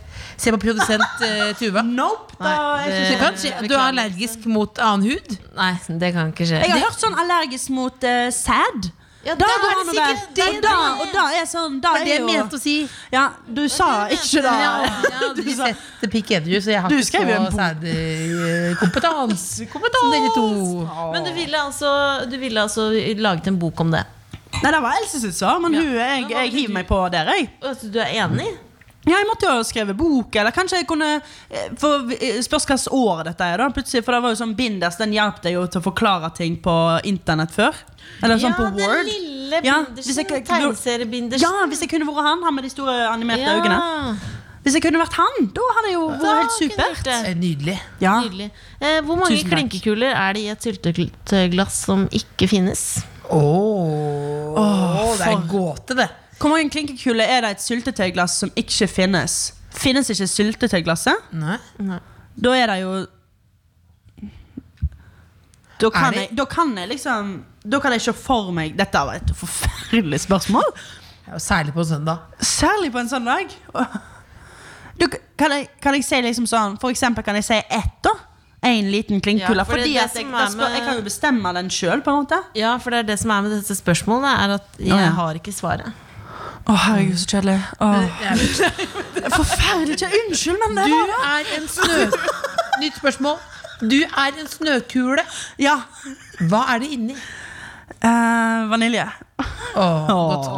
Speaker 8: Se på
Speaker 7: [laughs]
Speaker 8: produsent eh, Tuva.
Speaker 7: Nope! Da, jeg, synes
Speaker 8: Det
Speaker 7: ikke-
Speaker 8: kan skje. Du er allergisk mot annen hud?
Speaker 2: Nei, det kan ikke skje.
Speaker 7: jeg har hørt sånn allergisk mot eh, sæd.
Speaker 2: Ja, da
Speaker 7: Da går
Speaker 2: er
Speaker 7: han
Speaker 2: det
Speaker 7: over.
Speaker 2: sikkert
Speaker 7: Da-
Speaker 2: det-
Speaker 7: da, og da er sånn Da
Speaker 8: Det er det
Speaker 7: er
Speaker 8: jeg
Speaker 7: jo
Speaker 8: mente å si.
Speaker 7: Ja, du sa ikke det.
Speaker 8: Ja,
Speaker 7: [laughs]
Speaker 8: ja, du setter pikk edru, så jeg har
Speaker 7: Du
Speaker 8: ikke
Speaker 7: skrev jo
Speaker 8: så
Speaker 7: en bok. [laughs]
Speaker 8: sædkompetanse som dere to.
Speaker 2: Men du ville, altså, du ville altså laget en bok om det.
Speaker 7: Nei, det var Else sitt svar, men hun, jeg, jeg hiver meg på der, jeg.
Speaker 2: Altså, du er enig?
Speaker 7: Ja, jeg måtte jo ha skrevet bok, eller kanskje jeg kunne eh, For eh, spørs hvilket år dette er, da. Plutselig, For det var jo sånn binders, den hjalp deg jo til å forklare ting på internett før. Eller sånn på
Speaker 2: Ja, den
Speaker 7: Word.
Speaker 2: lille
Speaker 7: Ja, hvis
Speaker 2: bindersen.
Speaker 7: jeg ikke-
Speaker 2: Tegneseriebindersen.
Speaker 7: Ja, hvis jeg kunne vært han, han med de store animerte
Speaker 2: Ja,
Speaker 7: øynene. Hvis jeg kunne vært han, da hadde jeg jo vært
Speaker 2: da kunne
Speaker 7: helt
Speaker 2: jeg
Speaker 7: supert.
Speaker 2: gjort det.
Speaker 8: Eh, Nydelig.
Speaker 7: Ja.
Speaker 2: Nydelig. Eh, hvor mange
Speaker 7: Tusen takk.
Speaker 2: klinkekuler er det i et syltetøyglass som ikke finnes?
Speaker 8: Åh, det er en gåte, det.
Speaker 7: Hvor mange klinkekuler er det i et syltetøyglass som ikke finnes? Finnes ikke syltetøyglasset?
Speaker 8: Nei.
Speaker 7: Da er det jo da kan,
Speaker 8: Er det-
Speaker 7: jeg, da kan jeg liksom Da kan jeg se for meg Dette var et forferdelig spørsmål.
Speaker 8: Ja, og Særlig på søndag.
Speaker 7: Særlig på en sånn dag. Du, kan, jeg, kan jeg si liksom sånn For eksempel kan jeg si ett, da. En liten klinkekule.
Speaker 2: Ja, for det er
Speaker 7: fordi
Speaker 2: det
Speaker 7: at jeg,
Speaker 2: som
Speaker 7: da
Speaker 2: er
Speaker 7: spør,
Speaker 2: med-
Speaker 7: jeg kan jo bestemme den sjøl, på en måte.
Speaker 2: Ja, for det er det som er med dette spørsmålet, er at jeg
Speaker 7: ja.
Speaker 2: har ikke svaret.
Speaker 7: Å, herregud, så kjedelig. [laughs] Forferdelig kjedelig. Unnskyld, men det
Speaker 8: Du
Speaker 7: var det.
Speaker 8: er en snø... Nytt spørsmål. Du er en snøkule.
Speaker 7: Ja.
Speaker 8: Hva er det inni?
Speaker 7: eh, vanilje.
Speaker 8: Åh, godt.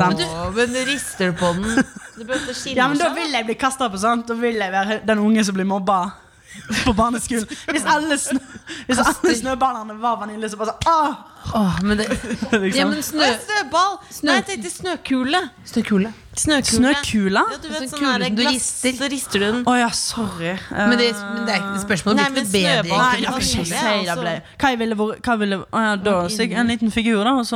Speaker 7: Sant?
Speaker 2: men du rister på den. Du behøver å skille
Speaker 7: Ja, men Da vil jeg bli kasta på sånt. Da vil jeg være den unge som blir mobba [laughs] på barneskolen. Hvis alle, snø, hvis alle snøballene var vanilje, så bare sånn Åh!
Speaker 8: Åh, men det, ja, men snø,
Speaker 2: Snøball! Nei, jeg tenkte snøkule.
Speaker 8: snøkule.
Speaker 7: Liksom.
Speaker 2: Snøkule.
Speaker 7: Snøkula?
Speaker 2: Ja, du vet,
Speaker 8: Sånn
Speaker 2: sånn
Speaker 8: kule
Speaker 2: der
Speaker 8: som du
Speaker 2: glass,
Speaker 8: rister.
Speaker 2: Så rister du den.
Speaker 7: Å ja, sorry. Eh,
Speaker 8: Men det, men det er ikke spørsmålet
Speaker 2: Nei,
Speaker 8: blir ikke
Speaker 2: men
Speaker 8: noe bedre.
Speaker 2: snøball-
Speaker 7: Nei,
Speaker 8: egentlig.
Speaker 7: jeg kan ikke si det
Speaker 2: altså.
Speaker 7: ble Hva jeg ville vært hva jeg ville- Å ja, da sikkert en liten figur, da, og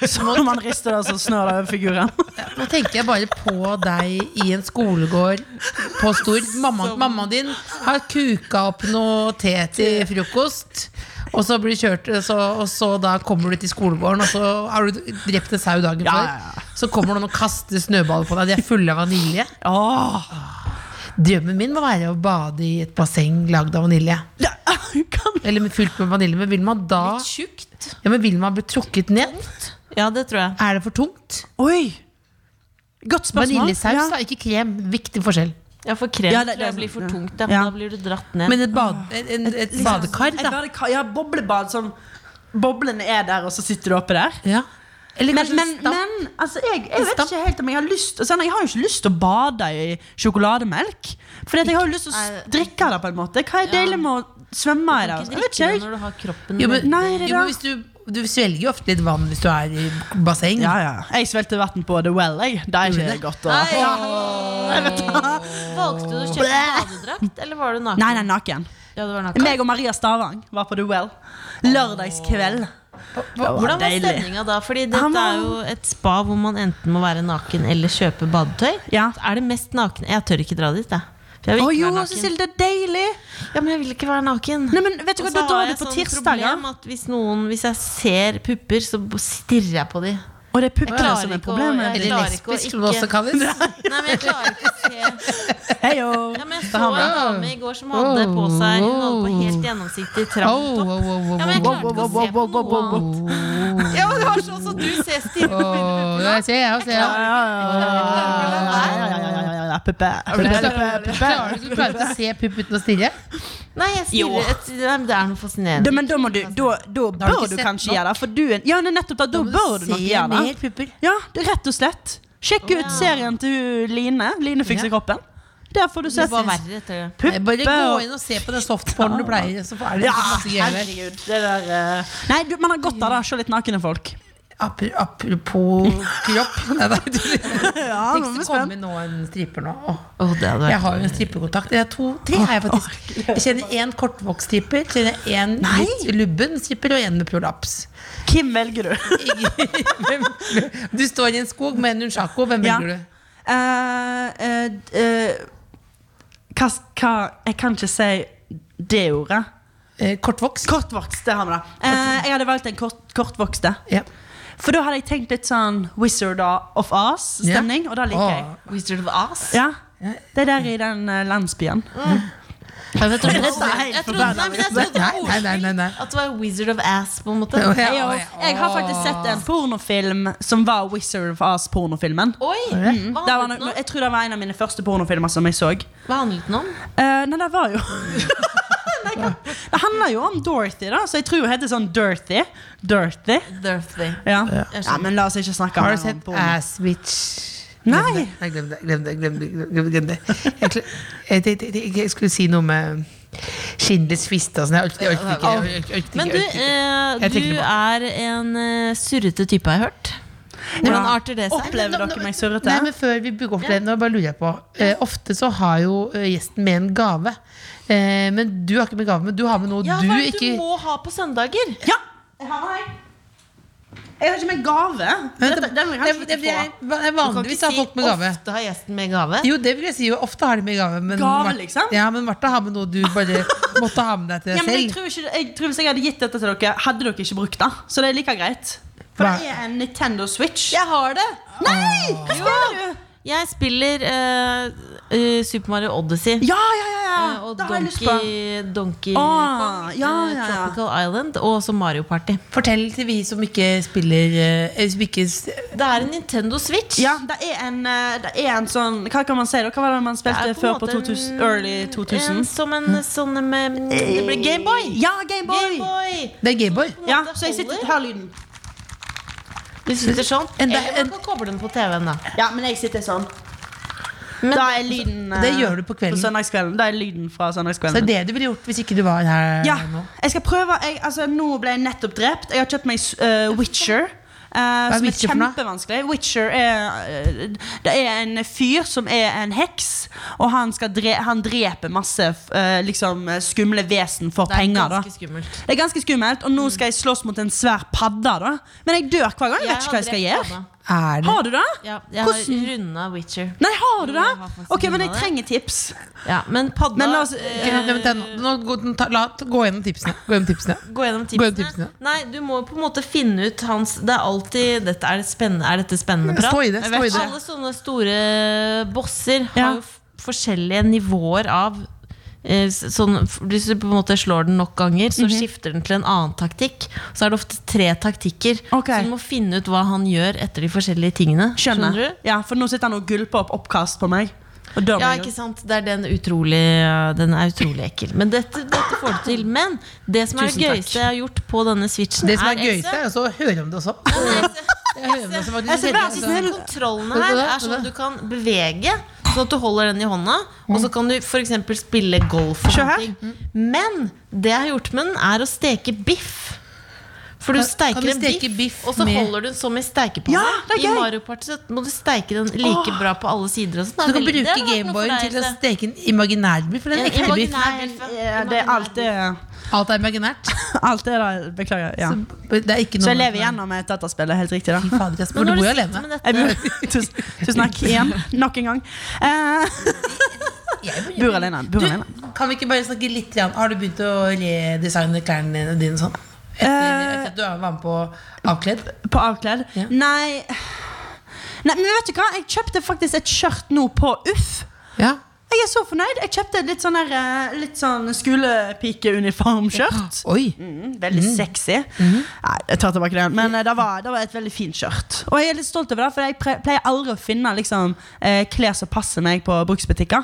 Speaker 8: [laughs]
Speaker 7: så Så når man rister det, så snør det over figuren.
Speaker 8: Nå tenker jeg bare på deg i en skolegård på Stord.
Speaker 2: [laughs]
Speaker 8: Mamma, mammaen din har kuka opp noe te til frokost. Og så, blir du kjørt, så, og så da kommer du til skolegården, og så har du drept en sau dagen
Speaker 7: Ja,
Speaker 8: før.
Speaker 7: ja, ja.
Speaker 8: Så kommer noen og kaster snøballer på deg. De er fulle av vanilje.
Speaker 7: Åh,
Speaker 8: Drømmen min må være å bade i et basseng lagd av vanilje.
Speaker 7: [laughs] det, kan,
Speaker 8: Eller med- fylt med vanilje. Men vil man da
Speaker 2: Tjukt.
Speaker 8: ja, men vil man bli trukket ned?
Speaker 2: Ja, det tror jeg.
Speaker 8: Er det for tungt?
Speaker 7: Oi! Godt spørsmål.
Speaker 8: Vaniljesaus,
Speaker 7: Ja.
Speaker 8: da, ikke krem. Viktig forskjell.
Speaker 2: Ja, for krem
Speaker 7: Ja, det-
Speaker 2: tror
Speaker 7: det er
Speaker 2: jeg blir for
Speaker 7: sant, ja.
Speaker 2: tungt. Da,
Speaker 7: Ja. Ah. Liksom,
Speaker 2: da blir du dratt ned.
Speaker 8: Men et, bad, et, et, et badekar,
Speaker 7: Et
Speaker 8: da.
Speaker 7: badekar- Ja, boblebad. Sånn Boblene er der, og så sitter du oppi der.
Speaker 8: Ja. Eller
Speaker 7: Men,
Speaker 8: kanskje
Speaker 7: men,
Speaker 8: en stapp.
Speaker 7: men altså, jeg, jeg vet
Speaker 8: Stamp.
Speaker 7: ikke helt om jeg har lyst altså, Jeg har jo ikke lyst til å bade i sjokolademelk. For jeg har jo lyst til å s- drikke det på en måte. Hva er deilig med å svømme i det?
Speaker 2: ikke
Speaker 7: Jeg
Speaker 2: drikke
Speaker 7: vet
Speaker 2: det
Speaker 7: ikke, jeg.
Speaker 2: når du har kroppen
Speaker 8: jo, men,
Speaker 7: Nei, det
Speaker 8: jo,
Speaker 7: da.
Speaker 8: men hvis du, du svelger jo ofte litt vann hvis du er i basseng.
Speaker 7: Ja, ja. Jeg svelgte vann på The Well, jeg. Det er ikke
Speaker 8: Gjorde det?
Speaker 7: godt å
Speaker 2: Nei, Valgte du å kjøpe badedrakt, eller var du naken?
Speaker 7: Nei, nei, naken.
Speaker 2: Ja, du var naken.
Speaker 7: Meg og Maria Stavang var på The Well lørdagskveld.
Speaker 2: Hvordan var
Speaker 7: deilig.
Speaker 2: stemninga da? Fordi dette
Speaker 7: Han var-
Speaker 2: er jo et spa hvor man enten må være naken eller kjøpe badetøy.
Speaker 7: Ja.
Speaker 2: Er det mest naken Jeg tør ikke dra dit, jeg. For jeg
Speaker 7: Å
Speaker 2: vil ikke
Speaker 7: jo,
Speaker 2: være naken.
Speaker 7: Cecilie, det er deilig!
Speaker 2: Ja, men jeg vil ikke være naken.
Speaker 7: Nei, men vet du hva,
Speaker 2: Og så
Speaker 7: Da
Speaker 2: har
Speaker 7: drar du
Speaker 2: jeg
Speaker 7: på
Speaker 2: sånn
Speaker 7: tirsdager.
Speaker 2: problem at hvis, noen, hvis jeg ser pupper, så b- stirrer jeg på de.
Speaker 7: Og det er puppene
Speaker 2: klarer
Speaker 7: som er
Speaker 2: ikke å-
Speaker 7: problemet.
Speaker 2: jeg-
Speaker 8: Eller
Speaker 2: klarer ikke å
Speaker 8: lesbisk, som det også
Speaker 2: ikke-
Speaker 8: kalles.
Speaker 2: [laughs] Nei, men jeg klarer ikke å se
Speaker 7: Hei, jo.
Speaker 2: ja, men Jeg
Speaker 7: Det
Speaker 2: så en
Speaker 7: har vi.
Speaker 2: dame i går som hadde på seg Hun hadde på helt gjennomsiktig
Speaker 8: Oh,
Speaker 2: tramtopp.
Speaker 8: wow, wow, wow,
Speaker 2: Ja, men jeg
Speaker 8: wow,
Speaker 2: klarte ikke å se på noe annet. Ja, men det var sånn som du ser stirrer på mine
Speaker 8: wow. Ja, jeg ser, jeg ser.
Speaker 7: Ja, ja, ja, ja, ja, ja, ja, puppe.
Speaker 8: For du klarer- du klarer du klarer ikke å se pupp uten å stirre?
Speaker 2: Nei, jeg
Speaker 7: Jo.
Speaker 2: stirrer et, nei, men Det er noe
Speaker 7: Da,
Speaker 2: fascinerende.
Speaker 7: men da, må du, da, da
Speaker 8: Da har du
Speaker 7: bør
Speaker 8: ikke
Speaker 7: du
Speaker 8: sett
Speaker 7: kanskje
Speaker 8: nok.
Speaker 7: gjøre det. For du, er- ja, det er nettopp det. Da bør du nok gjøre det.
Speaker 8: mer pupper.
Speaker 7: Ja, det er rett og slett. Sjekk ut serien til Line. Line fikser kroppen. Der får du
Speaker 2: Det
Speaker 7: sett
Speaker 2: var verre etter det.
Speaker 8: Nei, Bare gå
Speaker 7: pupper.
Speaker 8: inn og se på den softpornen du pleier, så er det
Speaker 7: Ja,
Speaker 8: masse greier der.
Speaker 7: herregud. Det der eh. Nei, du, man har godt av det. Se litt nakne folk.
Speaker 8: Apro- Apropos
Speaker 2: [laughs]
Speaker 8: kropp Nei, nei, du
Speaker 7: Ja,
Speaker 8: Tenk det kommer nå en striper nå. Åh.
Speaker 2: Åh, det hadde
Speaker 8: Jeg
Speaker 2: vært
Speaker 8: har jo en strippekontakt. Jeg, to, tre har jeg, faktisk. jeg kjenner én kortvokst stripper, kjenner én litt lubben stripper og én med prolaps.
Speaker 7: Hvem velger du?
Speaker 8: Du står i en skog med en nunchako, hvem
Speaker 7: Ja.
Speaker 8: velger du?
Speaker 7: Eh, eh, eh, hva, hva Jeg kan ikke si det ordet.
Speaker 8: Eh, kortvokst?
Speaker 7: Kortvokst, det har vi da. Eh, jeg hadde valgt en kort, kortvokste.
Speaker 8: Ja.
Speaker 7: For da hadde jeg tenkt litt sånn Wizard of Oz-stemning, og det liker jeg.
Speaker 2: Wizard of Oz.
Speaker 7: Ja, Det er der i den eh, landsbyen.
Speaker 2: Jeg trodde jeg trodde-
Speaker 8: Nei,
Speaker 2: jeg trodde- nei, men jeg
Speaker 8: Nei,
Speaker 2: trodde
Speaker 8: nei, nei, nei, nei.
Speaker 2: at det var Wizard of Ass, på en måte.
Speaker 8: Ja, ja,
Speaker 7: Jeg,
Speaker 8: ja.
Speaker 7: jeg har faktisk sett en pornofilm som var Wizard of Oz-pornofilmen.
Speaker 2: Oi! Hva
Speaker 7: Det
Speaker 2: handlet
Speaker 7: var
Speaker 2: den
Speaker 7: no-
Speaker 2: om?
Speaker 7: Jeg tror det var en av mine første pornofilmer som jeg så.
Speaker 2: Hva handlet den om?
Speaker 7: Eh, nei, det var jo [laughs] Nei, hva- Det handler jo om Dorothy, da, så jeg tror hun heter sånn Dirty. Dirty.
Speaker 2: Dirty.
Speaker 7: Ja.
Speaker 2: Jeg
Speaker 7: ja, Men la oss ikke snakke
Speaker 8: Har du
Speaker 7: mer om
Speaker 8: sett
Speaker 7: porno.
Speaker 8: Ass Witch?
Speaker 7: Nei.
Speaker 8: Glem det. Nei, glem det. Glem det, glem det, glem det, glem det. Jeg, kl- jeg, jeg, jeg, jeg skulle si noe med Schindlers fist. Altså. Jeg orket jeg orket ikke. Jeg orket ikke,
Speaker 2: Men
Speaker 8: jeg
Speaker 2: du,
Speaker 8: orket ikke.
Speaker 2: eh,
Speaker 8: Jeg trekker
Speaker 2: du er en eh, surrete type, har jeg hørt. Hvordan arter det seg?
Speaker 7: Opplever dere meg
Speaker 8: Nei,
Speaker 7: surrete?
Speaker 8: men Før vi bygger opp det, nå bare lurer jeg på. Eh, ofte så har jo eh, gjesten med en gave. Eh, men du har ikke med gave, men du har med noe
Speaker 2: Ja,
Speaker 8: du
Speaker 2: hva er det
Speaker 8: ikke
Speaker 2: du må ha på søndager?
Speaker 7: Ja!
Speaker 8: Eh,
Speaker 7: Jeg har meg. Jeg har ikke med gave. Dette, den må
Speaker 8: det,
Speaker 7: jeg kanskje
Speaker 8: det, det
Speaker 7: ikke
Speaker 8: er,
Speaker 7: få.
Speaker 8: det er vanligvis har folk med gave.
Speaker 2: ofte har gjesten med gave.
Speaker 8: Jo, det vil jeg si. jo Ofte har de med gave. Men,
Speaker 7: Gave,
Speaker 8: Mar-
Speaker 7: liksom?
Speaker 8: ja, men Martha har med noe du bare måtte ha med deg til
Speaker 7: Ja,
Speaker 8: deg
Speaker 7: men jeg
Speaker 8: selv.
Speaker 7: tror, ikke, jeg tror Hvis jeg hadde gitt dette til dere, hadde dere ikke brukt det. Så det er like greit. For
Speaker 8: Hva?
Speaker 7: det er en Nintendo Switch.
Speaker 2: Jeg har det!
Speaker 7: Nei! Hva spiller du?
Speaker 2: Jeg spiller eh, eh, Super Mario Odyssey.
Speaker 7: Ja, ja, ja, ja.
Speaker 2: eh, Og
Speaker 7: det har jeg lyst på.
Speaker 2: Donkey, Donkey
Speaker 7: Ah,
Speaker 2: Kong, eh,
Speaker 7: ja, ja, ja.
Speaker 2: Tropical Island og også Mario Party.
Speaker 8: Fortell til vi som ikke spiller eh, som ikke s-
Speaker 2: Det er en Nintendo Switch.
Speaker 7: Ja, det er, en, eh, det er en sånn Hva kan man si? da? Hva var det man spilte
Speaker 2: Det er på en
Speaker 7: før på
Speaker 2: måte
Speaker 7: 2000,
Speaker 2: en-
Speaker 7: early
Speaker 2: En,
Speaker 7: 2000?
Speaker 2: som en sånn med Det blir Gameboy!
Speaker 7: Ja, Gameboy! Game
Speaker 2: Gameboy!
Speaker 8: Det er Gameboy.
Speaker 7: ja, så jeg sitter, hør lyden.
Speaker 2: Du sitter sånn.
Speaker 8: En-
Speaker 2: Eller
Speaker 8: en-
Speaker 2: man kan koble den på TV-en, da.
Speaker 7: Ja, men jeg sitter sånn.
Speaker 2: Men-
Speaker 7: da er lyden eh,
Speaker 8: Det gjør du på
Speaker 7: på
Speaker 8: kvelden. Så
Speaker 7: søndagskvelden. Da er lyden fra
Speaker 8: det er
Speaker 7: søndagskvelden.
Speaker 8: det du ville gjort hvis ikke du var her
Speaker 7: Ja,
Speaker 8: nå.
Speaker 7: jeg skal prøve jeg, altså, Nå ble jeg nettopp drept. Jeg har kjøpt meg eh, Witcher. eh,
Speaker 8: er
Speaker 7: som
Speaker 8: Witcher
Speaker 7: er
Speaker 8: for noe?
Speaker 7: kjempevanskelig. Witcher er eh, Det er en fyr som er en heks, og han, skal dre han dreper masse eh, liksom, skumle vesen for
Speaker 2: Det er
Speaker 7: penger. Da.
Speaker 2: ganske skummelt.
Speaker 7: Det er ganske skummelt, og
Speaker 2: Mm.
Speaker 7: nå skal jeg slåss mot en svær padde. da Men jeg dør hver gang. Jeg vet ikke hva jeg skal
Speaker 2: har drept
Speaker 7: gjøre.
Speaker 2: Anna.
Speaker 8: Er det?
Speaker 7: Har du det?
Speaker 2: Ja, jeg
Speaker 7: Hvordan?
Speaker 2: har runda Witcher.
Speaker 7: Nei, har du
Speaker 2: Jo,
Speaker 7: det?
Speaker 2: jeg har faktisk
Speaker 7: Ok, men jeg
Speaker 2: rundet det.
Speaker 7: trenger tips.
Speaker 2: Ja, men padda
Speaker 7: Men la oss
Speaker 2: eh,
Speaker 8: Ok, vent, vent, nå- nå gå- ta- la- Gå gjennom tipsene. Gå gjennom tipsene.
Speaker 2: Gå gjennom
Speaker 8: Gå
Speaker 2: tipsene.
Speaker 8: gjennom tipsene.
Speaker 2: Nei, du må på en måte finne ut hans Det er alltid dette, er, det spennende, er dette spennende prat?
Speaker 8: Stå i det,
Speaker 2: Jeg vet
Speaker 8: stå i det.
Speaker 2: ikke. Alle sånne store bosser
Speaker 7: Ja.
Speaker 2: har jo f- forskjellige nivåer av eh, s- Sånn, f- hvis du på en måte slår den nok ganger, så
Speaker 8: Mhm.
Speaker 2: skifter den til en annen taktikk. Så er det ofte tre taktikker.
Speaker 7: Ok.
Speaker 2: Så du må finne ut hva han gjør etter de forskjellige tingene.
Speaker 7: Skjønner.
Speaker 2: du?
Speaker 7: Ja, For nå sitter han og gulper opp oppkast på meg. Og dør
Speaker 2: Ja,
Speaker 7: meg.
Speaker 2: ikke sant? Det er den, utrolig, eh, den er utrolig ekkel. Men dette, dette får du til. Men det som er
Speaker 7: Tusen
Speaker 2: det
Speaker 7: takk.
Speaker 2: gøyeste jeg har gjort på denne switchen,
Speaker 8: Det som er
Speaker 2: Else.
Speaker 8: gøyest, er også å høre om det også. Jeg hører om det også, faktisk.
Speaker 7: Jeg ser
Speaker 8: Veldig,
Speaker 7: vær så
Speaker 8: altså.
Speaker 7: snill.
Speaker 2: Kontrollene sånn her er sånn at du kan bevege, sånn at du holder den i hånda. Og
Speaker 8: Mm.
Speaker 2: så kan du f.eks. spille golf. og
Speaker 7: Se her.
Speaker 2: sånne ting. Men det jeg har gjort med den, er å steke biff. For du
Speaker 8: Kan- kan
Speaker 2: steiker
Speaker 8: du
Speaker 2: en biff,
Speaker 8: steke biff
Speaker 2: og så
Speaker 8: med-
Speaker 2: holder du den som i stekepanne.
Speaker 7: Ja, det er
Speaker 2: I
Speaker 7: gøy.
Speaker 2: Mario Party så må du steike den like bra på alle sider. Og sånn.
Speaker 8: Du kan
Speaker 2: Det er veldig-
Speaker 8: bruke
Speaker 2: det hadde vært noe for
Speaker 8: Gameboyen
Speaker 2: deg,
Speaker 8: til å
Speaker 2: Else.
Speaker 8: steke en imaginær biff. For det er en
Speaker 2: En
Speaker 8: ekte biff.
Speaker 2: imaginær
Speaker 7: Men,
Speaker 2: biff, ja.
Speaker 7: eh, Det er alt det
Speaker 8: Alt er imaginært.
Speaker 7: Alt er da, Beklager. Ja.
Speaker 8: Det er ikke noe
Speaker 7: Så jeg lever gjennom et dataspill. det er Helt
Speaker 2: [laughs]
Speaker 7: riktig, da.
Speaker 8: Fy fader, Jasper,
Speaker 2: Men
Speaker 8: du
Speaker 2: når
Speaker 8: bor jo
Speaker 2: du sitter
Speaker 8: alene.
Speaker 2: med
Speaker 7: Jeg
Speaker 2: dette
Speaker 7: bor- Tusen tusen takk igjen. Nok en gang. Eh, Bor alene. Bor alene.
Speaker 8: Du, kan vi ikke bare snakke litt grann? Har du begynt å redesigne klærne dine, dine sånn? Etter, etter at du var med på Avkledd?
Speaker 7: På avkledd?
Speaker 8: Ja.
Speaker 7: Nei. Nei, men vet du hva? Jeg kjøpte faktisk et skjørt nå på Uff.
Speaker 8: Ja.
Speaker 7: Jeg er så fornøyd. Jeg kjøpte et litt sånn, der, eh, litt sånn skolepikeuniformskjørt.
Speaker 8: Oi.
Speaker 7: Mm, veldig sexy.
Speaker 8: Mm.
Speaker 7: Nei, jeg tar tilbake det. Men eh, det var, det var et veldig fint skjørt. Og jeg er litt stolt over det, for jeg pre- pleier aldri å finne liksom, eh, klær som passer meg på bruksbutikker.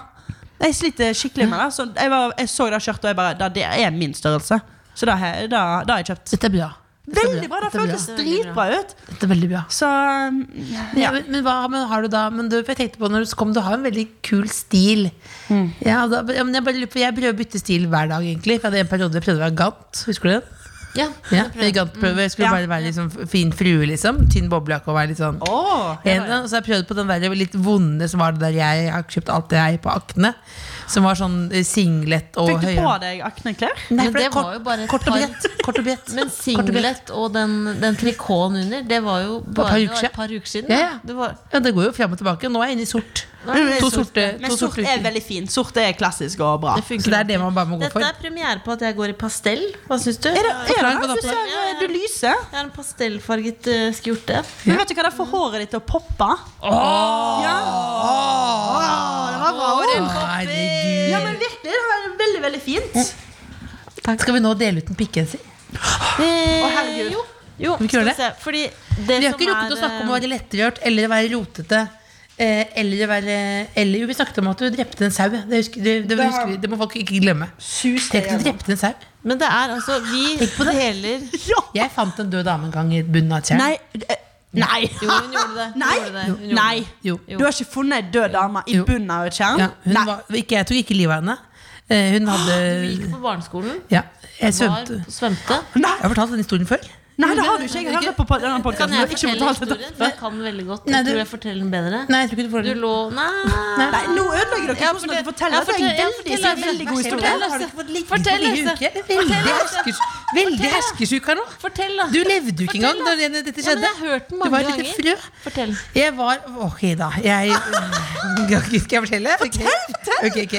Speaker 7: Jeg sliter skikkelig med det. Så jeg, var, jeg så det skjørtet, og jeg bare Det, det er min størrelse. Så det har jeg- det- det har jeg kjøpt.
Speaker 8: Dette er bra. Dette er
Speaker 7: Veldig bra! Det
Speaker 8: Dette er
Speaker 7: føltes
Speaker 2: bra.
Speaker 7: dritbra ut.
Speaker 8: Dette er veldig bra.
Speaker 7: Så
Speaker 8: Men,
Speaker 7: Mm, ja.
Speaker 8: men, men hva men har du da men du, for Jeg tenkte på når du kom, du har en veldig kul stil. Ja, da, ja, men jeg, bare, lurer på- jeg prøver å bytte stil hver dag, egentlig. For jeg hadde en periode jeg prøvde å være gant. Husker du den?
Speaker 2: Ja,
Speaker 8: Ja, Gantprøve. Jeg skulle
Speaker 7: Ja.
Speaker 8: bare være litt sånn fin frue, liksom. Tynn boblejakke og være litt sånn
Speaker 7: Åh, ja,
Speaker 8: En, og så har jeg prøvd på den der litt vonde som var det der jeg har kjøpt alt jeg på Akne. Som var sånn eh, singlet og
Speaker 7: Fikk du på
Speaker 8: høyere.
Speaker 7: deg akneklær?
Speaker 8: Nei,
Speaker 2: Men
Speaker 8: for det
Speaker 2: det
Speaker 8: er
Speaker 2: var jo
Speaker 8: kort,
Speaker 2: bare et
Speaker 8: kort og
Speaker 2: par-
Speaker 8: bredt. Kort og bredt.
Speaker 2: Men
Speaker 8: Kort og bredt.
Speaker 2: singlet og den, den trikoten under, det var jo bare
Speaker 8: par
Speaker 2: det
Speaker 8: uker
Speaker 2: var
Speaker 8: siden.
Speaker 2: et par uker siden.
Speaker 8: Ja,
Speaker 2: da.
Speaker 8: ja.
Speaker 2: Det var,
Speaker 8: Ja, det går jo frem og tilbake. Nå er jeg inne i sort. To sorte.
Speaker 7: Men
Speaker 8: To
Speaker 7: sort
Speaker 8: sorte
Speaker 7: er
Speaker 8: uker.
Speaker 7: veldig fint. Sort er klassisk og bra.
Speaker 2: det funker
Speaker 8: Så det er det man bare må gå
Speaker 2: Dette
Speaker 8: for.
Speaker 2: er premiere på at jeg går i pastell. Hva syns du?
Speaker 7: Er det, er det,
Speaker 8: Frank, hva da?
Speaker 7: Du ser
Speaker 2: Ja, ja, ja.
Speaker 7: du lyse?
Speaker 2: Jeg har en pastellfarget eh, skjorte.
Speaker 7: Men vet du hva, det får håret ditt til å poppe. Ja. det var bra. Åh.
Speaker 8: Herregud.
Speaker 7: Ja, men virkelig, det var veldig, veldig fint.
Speaker 8: Skal vi nå dele ut en pikkgenser?
Speaker 2: Eh,
Speaker 7: herregud.
Speaker 2: Jo, jo
Speaker 8: vi ikke gjøre
Speaker 2: skal vi se. Fordi det
Speaker 8: Vi har
Speaker 2: som
Speaker 8: ikke
Speaker 2: er,
Speaker 8: rukket
Speaker 2: eh,
Speaker 8: å
Speaker 7: eh,
Speaker 8: snakke om å være lettrørt eller å være rotete. eh, Eller å være Eller jo, vi snakket om at du drepte en sau. Det, husker, det, det, husker, vi. det må folk ikke glemme. Tenk at du drepte en sau.
Speaker 2: Men det er altså Vi
Speaker 8: [laughs] Tenk på det.
Speaker 2: deler
Speaker 8: Jeg fant en død dame en gang i bunnen av et tjern.
Speaker 7: Nei. eh, Nei.
Speaker 2: Jo, hun gjorde det. Hun
Speaker 7: Nei.
Speaker 2: gjorde det. Hun gjorde
Speaker 7: Nei.
Speaker 2: det.
Speaker 8: Jo.
Speaker 7: Du har ikke funnet ei død dame i
Speaker 8: Jo.
Speaker 7: bunnen av et tjern?
Speaker 8: Ja, hun
Speaker 7: Nei.
Speaker 8: var, ikke, jeg tok ikke livet av henne. Eh, Hun hadde
Speaker 2: Vi gikk på barneskolen,
Speaker 8: Ja, jeg
Speaker 2: var
Speaker 8: svømte.
Speaker 2: svømte.
Speaker 7: Nei.
Speaker 8: Jeg har fortalt den historien før.
Speaker 7: Nei, det har du ikke. Jeg hører på pod- denne
Speaker 2: Kan
Speaker 7: podkasten.
Speaker 2: jeg fortelle historien? For jeg kan den veldig godt. Jeg
Speaker 8: Nei, du-
Speaker 2: tror jeg forteller den bedre.
Speaker 8: Nei, jeg tror ikke du får
Speaker 2: Du
Speaker 8: den.
Speaker 2: lå Nei.
Speaker 7: Nei, nå ødelegger dere
Speaker 2: Ja,
Speaker 7: hvordan dere
Speaker 2: fortell-
Speaker 7: forteller.
Speaker 2: ja,
Speaker 7: Det er
Speaker 2: fortell-
Speaker 7: en
Speaker 2: ja,
Speaker 7: veldig,
Speaker 2: fortell,
Speaker 7: veldig,
Speaker 2: Lasse.
Speaker 7: god historie.
Speaker 2: Fortell, Lasse.
Speaker 8: Har du ikke fått litt
Speaker 2: Fortell,
Speaker 8: forrige
Speaker 2: Lasse.
Speaker 8: uke? Det er Veldig, herskers, veldig herskersjuk her nå.
Speaker 2: Fortell, da.
Speaker 8: Du levde jo
Speaker 2: Fortell,
Speaker 8: ikke engang
Speaker 2: da.
Speaker 8: da det-
Speaker 2: Ja,
Speaker 8: dette
Speaker 2: men
Speaker 8: skjedde.
Speaker 2: jeg har hørt den
Speaker 8: Du var
Speaker 2: mange
Speaker 8: et lite
Speaker 2: ganger.
Speaker 8: frø.
Speaker 2: Fortell.
Speaker 8: Jeg var Ok, da. Jeg Skal jeg fortelle? Fortell! Okay. ok.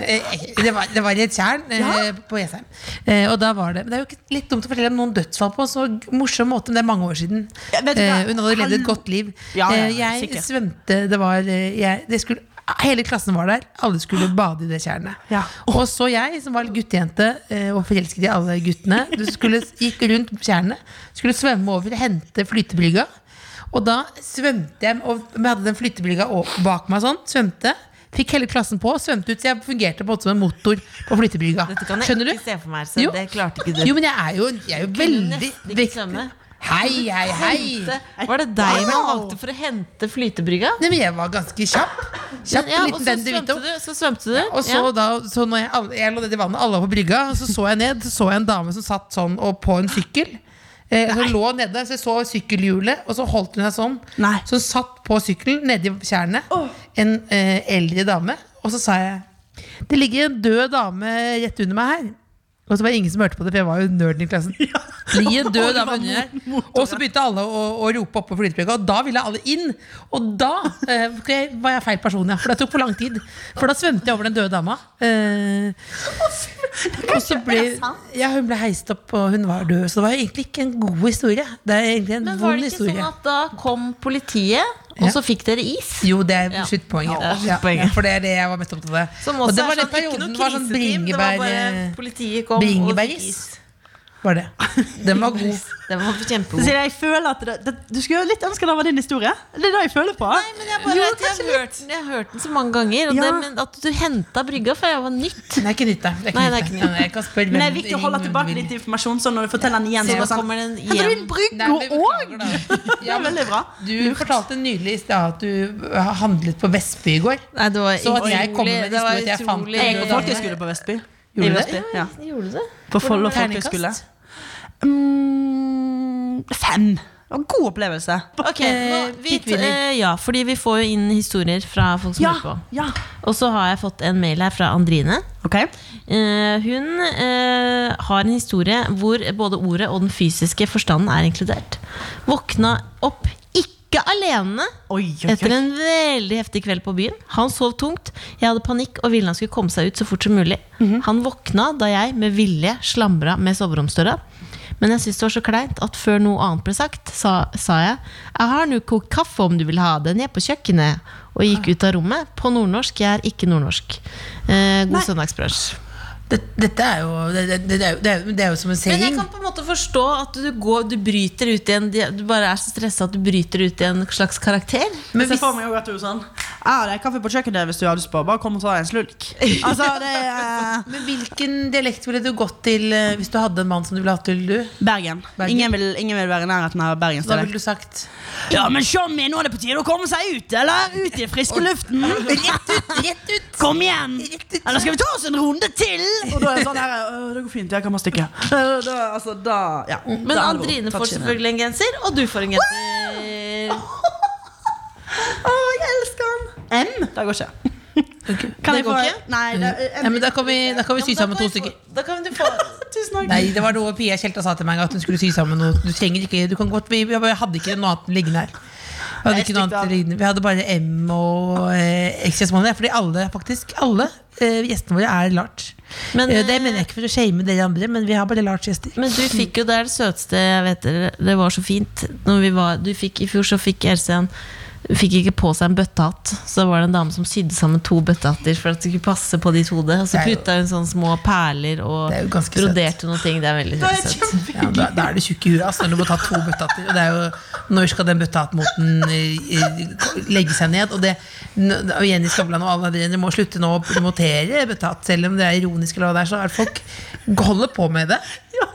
Speaker 8: Eh, Det, var, det var i et tjern eh, på Jessheim. Eh, Og da var det men Det er jo ikke litt dumt å fortelle om noen dødsfall på en så morsom måte, men det er mange år siden.
Speaker 7: Ja, vet du hva?
Speaker 8: Eh, Hun hadde levd et
Speaker 7: Hallo.
Speaker 8: godt liv.
Speaker 7: Ja, ja,
Speaker 8: Eh,
Speaker 7: ja,
Speaker 8: Jeg
Speaker 7: sikkert.
Speaker 8: svømte Det var eh, jeg, det skulle, Hele klassen var der. Alle skulle bade i det tjernet.
Speaker 7: Ja.
Speaker 8: Og så jeg, som var guttejente eh, og forelsket i alle guttene, du skulle, gikk rundt tjernet, skulle svømme over og hente flytebrygga. Og da svømte jeg, og jeg hadde den flytebrygga o- bak meg sånn, svømte. Fikk hele klassen på, svømte ut, så jeg fungerte på en måte som en motor på flytebrygga.
Speaker 2: Dette kan jeg
Speaker 8: Skjønner du?
Speaker 2: ikke se for meg, så
Speaker 8: Jo.
Speaker 2: det klarte ikke du.
Speaker 8: Jo, men jeg er jo, jeg er jo veldig
Speaker 2: nesten ikke
Speaker 8: vekt-
Speaker 2: svømme.
Speaker 8: Hei, hei, hei!
Speaker 2: Hente- Var det deg man valgte for å hente flytebrygga?
Speaker 8: Nei, men jeg var ganske kjapp. Kjapp
Speaker 2: Ja, og
Speaker 8: liten
Speaker 2: så
Speaker 8: den de
Speaker 2: svømte
Speaker 8: hvite
Speaker 2: du. Så svømte du.
Speaker 8: Og så,
Speaker 2: Ja.
Speaker 8: da, så når jeg, alle- jeg lå nede i vannet, alle var på brygga, og så så jeg ned, så så jeg en dame som satt sånn og på en sykkel. Eh, så lå nede, så jeg så sykkelhjulet, og så holdt hun seg sånn.
Speaker 7: Nei.
Speaker 8: Så hun satt på sykkelen nede i tjernet, en eh, eldre dame, og så sa jeg Det ligger en død dame rett under meg her. Og så var det ingen som hørte på det, for jeg var jo nerden i
Speaker 2: [laughs]
Speaker 8: klassen. Det ligger en død dame under her. Og så begynte alle å, å rope oppå flytebrygga, og da ville alle inn. Og da eh, var jeg feil person, ja. For det tok for lang tid. For da svømte jeg over den døde dama. Eh,
Speaker 2: [laughs]
Speaker 8: og så ble ja, hun ble heist opp, og hun var død. Så det var egentlig ikke en god historie. Det er egentlig en
Speaker 2: Men var
Speaker 8: vond
Speaker 2: det ikke
Speaker 8: historie.
Speaker 2: sånn at da kom politiet, og
Speaker 8: Ja.
Speaker 2: så fikk dere is?
Speaker 8: Jo, det er
Speaker 2: Ja.
Speaker 8: sluttpoenget.
Speaker 2: Ja, det er
Speaker 8: Ja,
Speaker 2: sluttpoenget.
Speaker 8: for det er det jeg var mest opptatt av.
Speaker 2: Som
Speaker 8: og
Speaker 2: også
Speaker 8: det
Speaker 2: er
Speaker 8: var den
Speaker 2: sånn, ikke
Speaker 8: perioden
Speaker 2: noe
Speaker 8: det var sånn
Speaker 2: kriseteam, det var
Speaker 8: bringebær... eh,
Speaker 2: bare politiet kom og fikk is.
Speaker 8: Bringebæris. Var det. Den var god.
Speaker 2: Den var
Speaker 7: Så
Speaker 2: kjempegod.
Speaker 7: jeg føler at det, det, Du skulle jo litt ønske det var din historie. Det er det jeg føler på.
Speaker 2: Nei, men jeg, bare, jo, jeg, har hørt, den- jeg har hørt den så mange ganger. Og
Speaker 7: Ja.
Speaker 2: det, men at du henta brygga før jeg var nytt.
Speaker 8: Den er ikke nytt, da. Det er
Speaker 2: Nei, det er
Speaker 8: nytt,
Speaker 2: ikke
Speaker 8: da. Jeg kan spørre
Speaker 7: Men det
Speaker 8: hvem-
Speaker 7: er viktig å holde
Speaker 8: ring
Speaker 7: tilbake
Speaker 8: hvem du vil.
Speaker 7: litt informasjon, så når du forteller den igjen, så
Speaker 2: Så da
Speaker 7: bare sånn
Speaker 2: kommer den
Speaker 7: Henter du
Speaker 2: igjen.
Speaker 7: en brygge
Speaker 8: Nei, men
Speaker 7: òg?
Speaker 2: [laughs]
Speaker 8: beklager, da.
Speaker 7: Det
Speaker 8: Ja,
Speaker 7: er
Speaker 8: men
Speaker 7: veldig bra.
Speaker 8: du fortalte nylig i stad at du handlet på Vestby i går.
Speaker 2: Nei, det var
Speaker 8: Så at jeg
Speaker 2: utrolig-
Speaker 8: kommer med en
Speaker 2: det var
Speaker 8: historie at jeg fant
Speaker 2: utrolig-
Speaker 8: den.
Speaker 7: Jeg og folkehøyskole på Vestby.
Speaker 8: Gjorde
Speaker 7: I
Speaker 8: du det?
Speaker 7: Vestby, Ja.
Speaker 2: Gjorde du det?
Speaker 7: På Follo
Speaker 8: Terningkast?
Speaker 7: folkehøgskole. Mm, fem. Det var en god opplevelse. Eh,
Speaker 2: Ok, nå, vi,
Speaker 8: Fikk vi den?
Speaker 2: eh, ja, fordi vi får jo inn historier fra folk som
Speaker 7: Ja.
Speaker 2: hører på.
Speaker 7: ja.
Speaker 2: Og så har jeg fått en mail her fra Andrine.
Speaker 7: Ok.
Speaker 2: Eh, hun eh, har en historie hvor både ordet og den fysiske forstanden er inkludert. Våkna opp ikke alene
Speaker 7: Oi, oi,
Speaker 2: etter
Speaker 7: oi.
Speaker 2: en veldig heftig kveld på byen. Han sov tungt. Jeg hadde panikk og ville han skulle komme seg ut så fort som mulig.
Speaker 7: Mhm.
Speaker 2: Han våkna da jeg med vilje slamra med soveromsdøra. Men jeg syntes det var så kleint at før noe annet ble sagt, sa, sa jeg 'Jeg har nå kokt kaffe om du vil ha det, ned på kjøkkenet', og
Speaker 7: Ah.
Speaker 2: gikk ut av rommet. På nordnorsk. Jeg er ikke nordnorsk. Eh, god søndagsbrunsj.
Speaker 8: Det- Dette er jo det, det, det, er jo- det, er, jo- det er jo som en
Speaker 2: Men jeg
Speaker 8: saying.
Speaker 2: kan på en måte forstå at du, går, du bryter ut i en Du bare er så stressa at du bryter ut i en slags karakter. Altså,
Speaker 8: Men
Speaker 7: Se
Speaker 8: hvis,
Speaker 7: for meg også at du er sånn ah, Det er kaffe på kjøkkenet hvis du har lyst på. Bare kom og ta en slurk. Altså, det er
Speaker 8: men hvilken dialekt ville du gått til eh, hvis du hadde en mann som du ville hatt til, du?
Speaker 7: Bergen.
Speaker 8: Bergen.
Speaker 7: Ingen, vil, ingen vil være i nærheten av Bergens
Speaker 8: Da ville du sagt
Speaker 7: Ja, men Shommy, nå er det på tide å komme seg ut, eller? Ut i friske luften.
Speaker 8: Rett ut! Rett ut!
Speaker 7: Kom igjen!
Speaker 8: Rett ut.
Speaker 7: Eller skal vi ta oss en runde til? Og da er det sånn her «Øh, Det går fint, jeg kan bare stikke. Øh, Da, altså, da, ja.
Speaker 2: Men
Speaker 7: da er det
Speaker 2: Andrine
Speaker 7: tatt
Speaker 2: får
Speaker 7: skinnet.
Speaker 2: selvfølgelig en genser, og du får en genser.
Speaker 7: Å, jeg elsker han! M? Det går ikke. Kan
Speaker 2: Det
Speaker 7: jeg
Speaker 2: går
Speaker 7: få
Speaker 2: ikke?
Speaker 7: Nei, det,
Speaker 8: Ja, men da kan vi, da kan vi sy
Speaker 2: Ja, men
Speaker 8: sammen
Speaker 2: da
Speaker 8: to
Speaker 2: kan vi få-
Speaker 8: stykker.
Speaker 2: Da kan du få
Speaker 7: Tusen takk.
Speaker 8: Nei, det var noe Pia Kjelta sa til meg at hun skulle sy sammen noe. Du trenger ikke, du kan godt, vi, jeg bare hadde ikke noe annet liggende her. Vi hadde, ikke noe annet lignende. vi hadde bare M og eh, ekskjærestemann. Fordi alle, faktisk alle eh, gjestene våre er large.
Speaker 2: Men,
Speaker 8: Eh, det mener jeg ikke for å shame dere andre, men vi har bare large gjester.
Speaker 2: Men du fikk jo det er det søteste jeg vet dere, Det var så fint når vi var, du fikk, I fjor så fikk Else en hun fikk ikke på seg en bøttehatt, så da var det en dame som sydde sammen to bøttehatter for at det skulle passe på ditt hode. Og så
Speaker 8: Det er jo-
Speaker 2: putta hun sånne små perler og
Speaker 8: Det er jo ganske søtt.
Speaker 2: broderte noen ting. Det er veldig
Speaker 7: Det er
Speaker 2: søtt.
Speaker 7: kjempe-
Speaker 8: Ja, da, da er du tjukk i huet ass, når du må ta to bøttehatter. Og det er jo Når skal den bøttehattmoten eh, eh, legge seg ned? Og det n- og Jenny Skavlan og alle andre dere må slutte nå å promotere bøttehatt, selv om det er ironisk, eller hva det er, så er det folk holder på med det.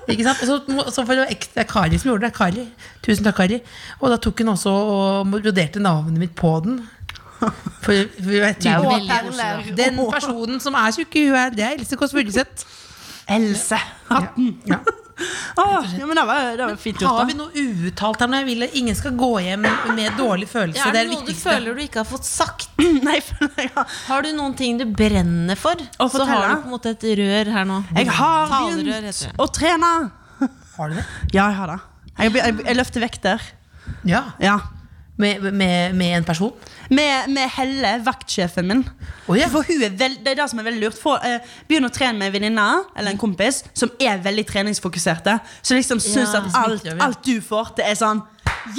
Speaker 8: Ikke sant? Og så, må- så for å ekstra Kari som gjorde det. Kari. Tusen takk, Kari. Og da tok hun også og broderte navnet mitt på den. For, for jeg er
Speaker 2: Det er jo
Speaker 8: tydelig-
Speaker 2: veldig koselig. da.
Speaker 8: den personen som er tjukk i huet, her, det er Else Kåss Furuseth.
Speaker 7: Else. Hatten.
Speaker 8: Ja.
Speaker 7: Å, ja, men det var, det var fint
Speaker 8: Har
Speaker 7: gjort.
Speaker 8: vi
Speaker 7: da.
Speaker 8: noe uuttalt her? nå? Jeg vil at ingen skal gå hjem med dårlig følelse.
Speaker 2: Er det
Speaker 8: det er det
Speaker 2: noe du
Speaker 8: viktigste.
Speaker 2: føler du ikke har fått sagt?
Speaker 7: [laughs] Nei, for jeg har,
Speaker 2: Har du noen ting du brenner for?
Speaker 7: Å,
Speaker 2: så
Speaker 7: fortell,
Speaker 2: har
Speaker 7: da.
Speaker 2: du på en måte et rør her nå.
Speaker 7: jeg har
Speaker 2: Talerør
Speaker 7: begynt
Speaker 2: heter det.
Speaker 7: å trene.
Speaker 8: Har du det?
Speaker 7: Ja, jeg har det. Jeg, jeg, jeg løfter vekter.
Speaker 8: Ja.
Speaker 7: Ja.
Speaker 8: Med, med, med en person?
Speaker 7: Med, med Helle, vaktsjefen min.
Speaker 8: Å ja.
Speaker 7: For hun er veld, det er det som er veldig lurt. Få, eh, begynn å trene med en venninne eller
Speaker 8: Mm.
Speaker 7: en kompis som er veldig treningsfokuserte. Som liksom syns
Speaker 2: Ja.
Speaker 7: at alt, alt du får til, er sånn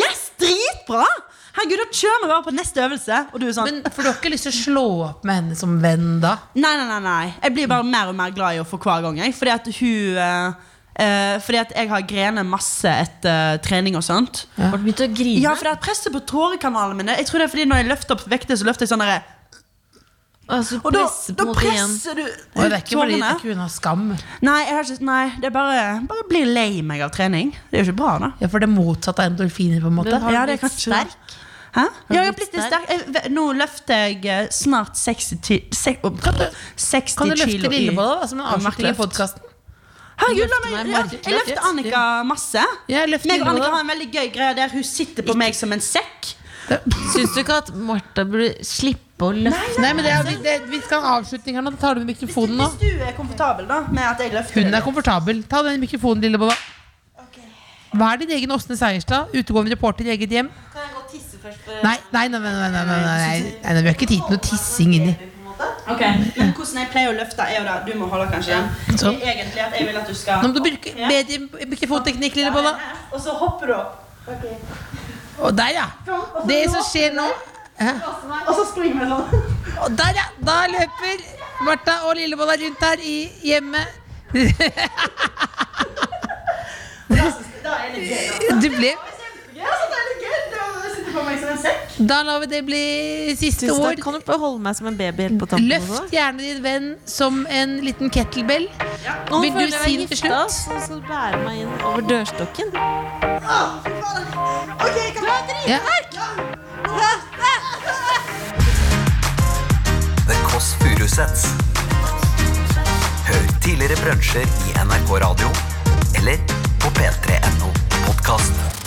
Speaker 7: Yes, dritbra! Herregud, da kjører vi bare på neste øvelse. Og du er sånn
Speaker 8: Men For du har ikke lyst til å slå opp med henne som venn da?
Speaker 7: Nei, nei, nei, nei. Jeg blir bare mer og mer glad i henne for hver gang. Jeg. Fordi at hun eh, eh, Fordi at jeg har grenet masse etter eh, trening og sånt.
Speaker 2: Har du begynt å grine?
Speaker 7: Ja, for det er presset på tårekanalene mine. Jeg tror det er fordi Når jeg løfter opp vekter, så løfter jeg sånn derre
Speaker 2: altså,
Speaker 7: Og da,
Speaker 2: presse på
Speaker 7: da
Speaker 2: en måte igjen.
Speaker 7: presser du
Speaker 8: Og
Speaker 7: ut
Speaker 8: det er ikke fordi det
Speaker 7: tårene.
Speaker 8: er ikke unna skam.
Speaker 7: Nei, jeg har ikke, nei, det er bare, bare blir lei meg av trening. Det er jo ikke bra, da.
Speaker 8: Ja, For det er motsatt av endorfiner, på en måte.
Speaker 2: Men har
Speaker 7: Ja,
Speaker 2: du
Speaker 7: det er
Speaker 2: blitt
Speaker 7: kanskje det.
Speaker 2: sterk?
Speaker 7: Hæ? Ja, jeg har
Speaker 2: blitt
Speaker 7: blitt litt
Speaker 2: sterk?
Speaker 7: sterk. Jeg, ve- nå løfter jeg eh, snart 60, ti- se, oh, 60
Speaker 8: Kan du
Speaker 7: kilo
Speaker 8: løfte lille på det,
Speaker 7: i
Speaker 8: da, som en avslutning i
Speaker 7: markløft.
Speaker 8: podkasten?
Speaker 7: Herregud, la
Speaker 8: Løfte
Speaker 7: meg,
Speaker 8: meg
Speaker 7: ja,
Speaker 8: markløft.
Speaker 7: jeg løfter Annika masse.
Speaker 8: Ja, løft
Speaker 7: Meg
Speaker 8: lille
Speaker 7: og
Speaker 8: på
Speaker 7: Annika
Speaker 8: det.
Speaker 7: har en veldig gøy greie der hun sitter på meg som en sekk.
Speaker 2: Syns du ikke at Martha burde slippe å løfte?
Speaker 8: Nei, altså- men det er, det, vi skal ha en avslutning her nå. Da tar du med mikrofonen nå.
Speaker 7: Hvis du er komfortabel da med at jeg løfter
Speaker 8: Hun er
Speaker 7: deg.
Speaker 8: komfortabel. Ta den mikrofonen, lille Bolla. Vær din egen Åsne Seierstad, utegående reporter i eget hjem.
Speaker 2: Kan jeg gå og tisse først? For
Speaker 8: Nei, nei, nei, nei, nei, nei, nei, nei, nei, nei, vi har ikke tid til noe tissing inni.
Speaker 7: Ok, Men hvordan jeg pleier å løfte, er jo da Du må holde kanskje igjen.
Speaker 8: Sånn.
Speaker 7: Det er Egentlig at jeg vil at du skal
Speaker 8: Nå må du bruke bedre mikrofonteknikk, lille bolla.
Speaker 7: Og så hopper du opp.
Speaker 8: Og der, ja. Det som skjer nå Hæ?
Speaker 7: Og så springer vi sånn.
Speaker 8: Og der, ja. Da løper Martha og lillebolla rundt her i hjemmet. Du ble Da lar vi det bli siste
Speaker 2: Tusen
Speaker 8: ord.
Speaker 2: takk. Kan du bare holde meg som en baby helt på tampen? også?
Speaker 8: Løft gjerne din venn som en liten kettlebell.
Speaker 2: Nå
Speaker 8: Vil du
Speaker 2: føler jeg
Speaker 8: si
Speaker 2: meg
Speaker 8: det til
Speaker 2: gifta,
Speaker 8: slutt?
Speaker 2: Så skal du bære meg inn over dørstokken.
Speaker 8: Ja.
Speaker 3: The Kåss Furuseths. Hør tidligere brunsjer i NRK Radio eller på p3.no podkast.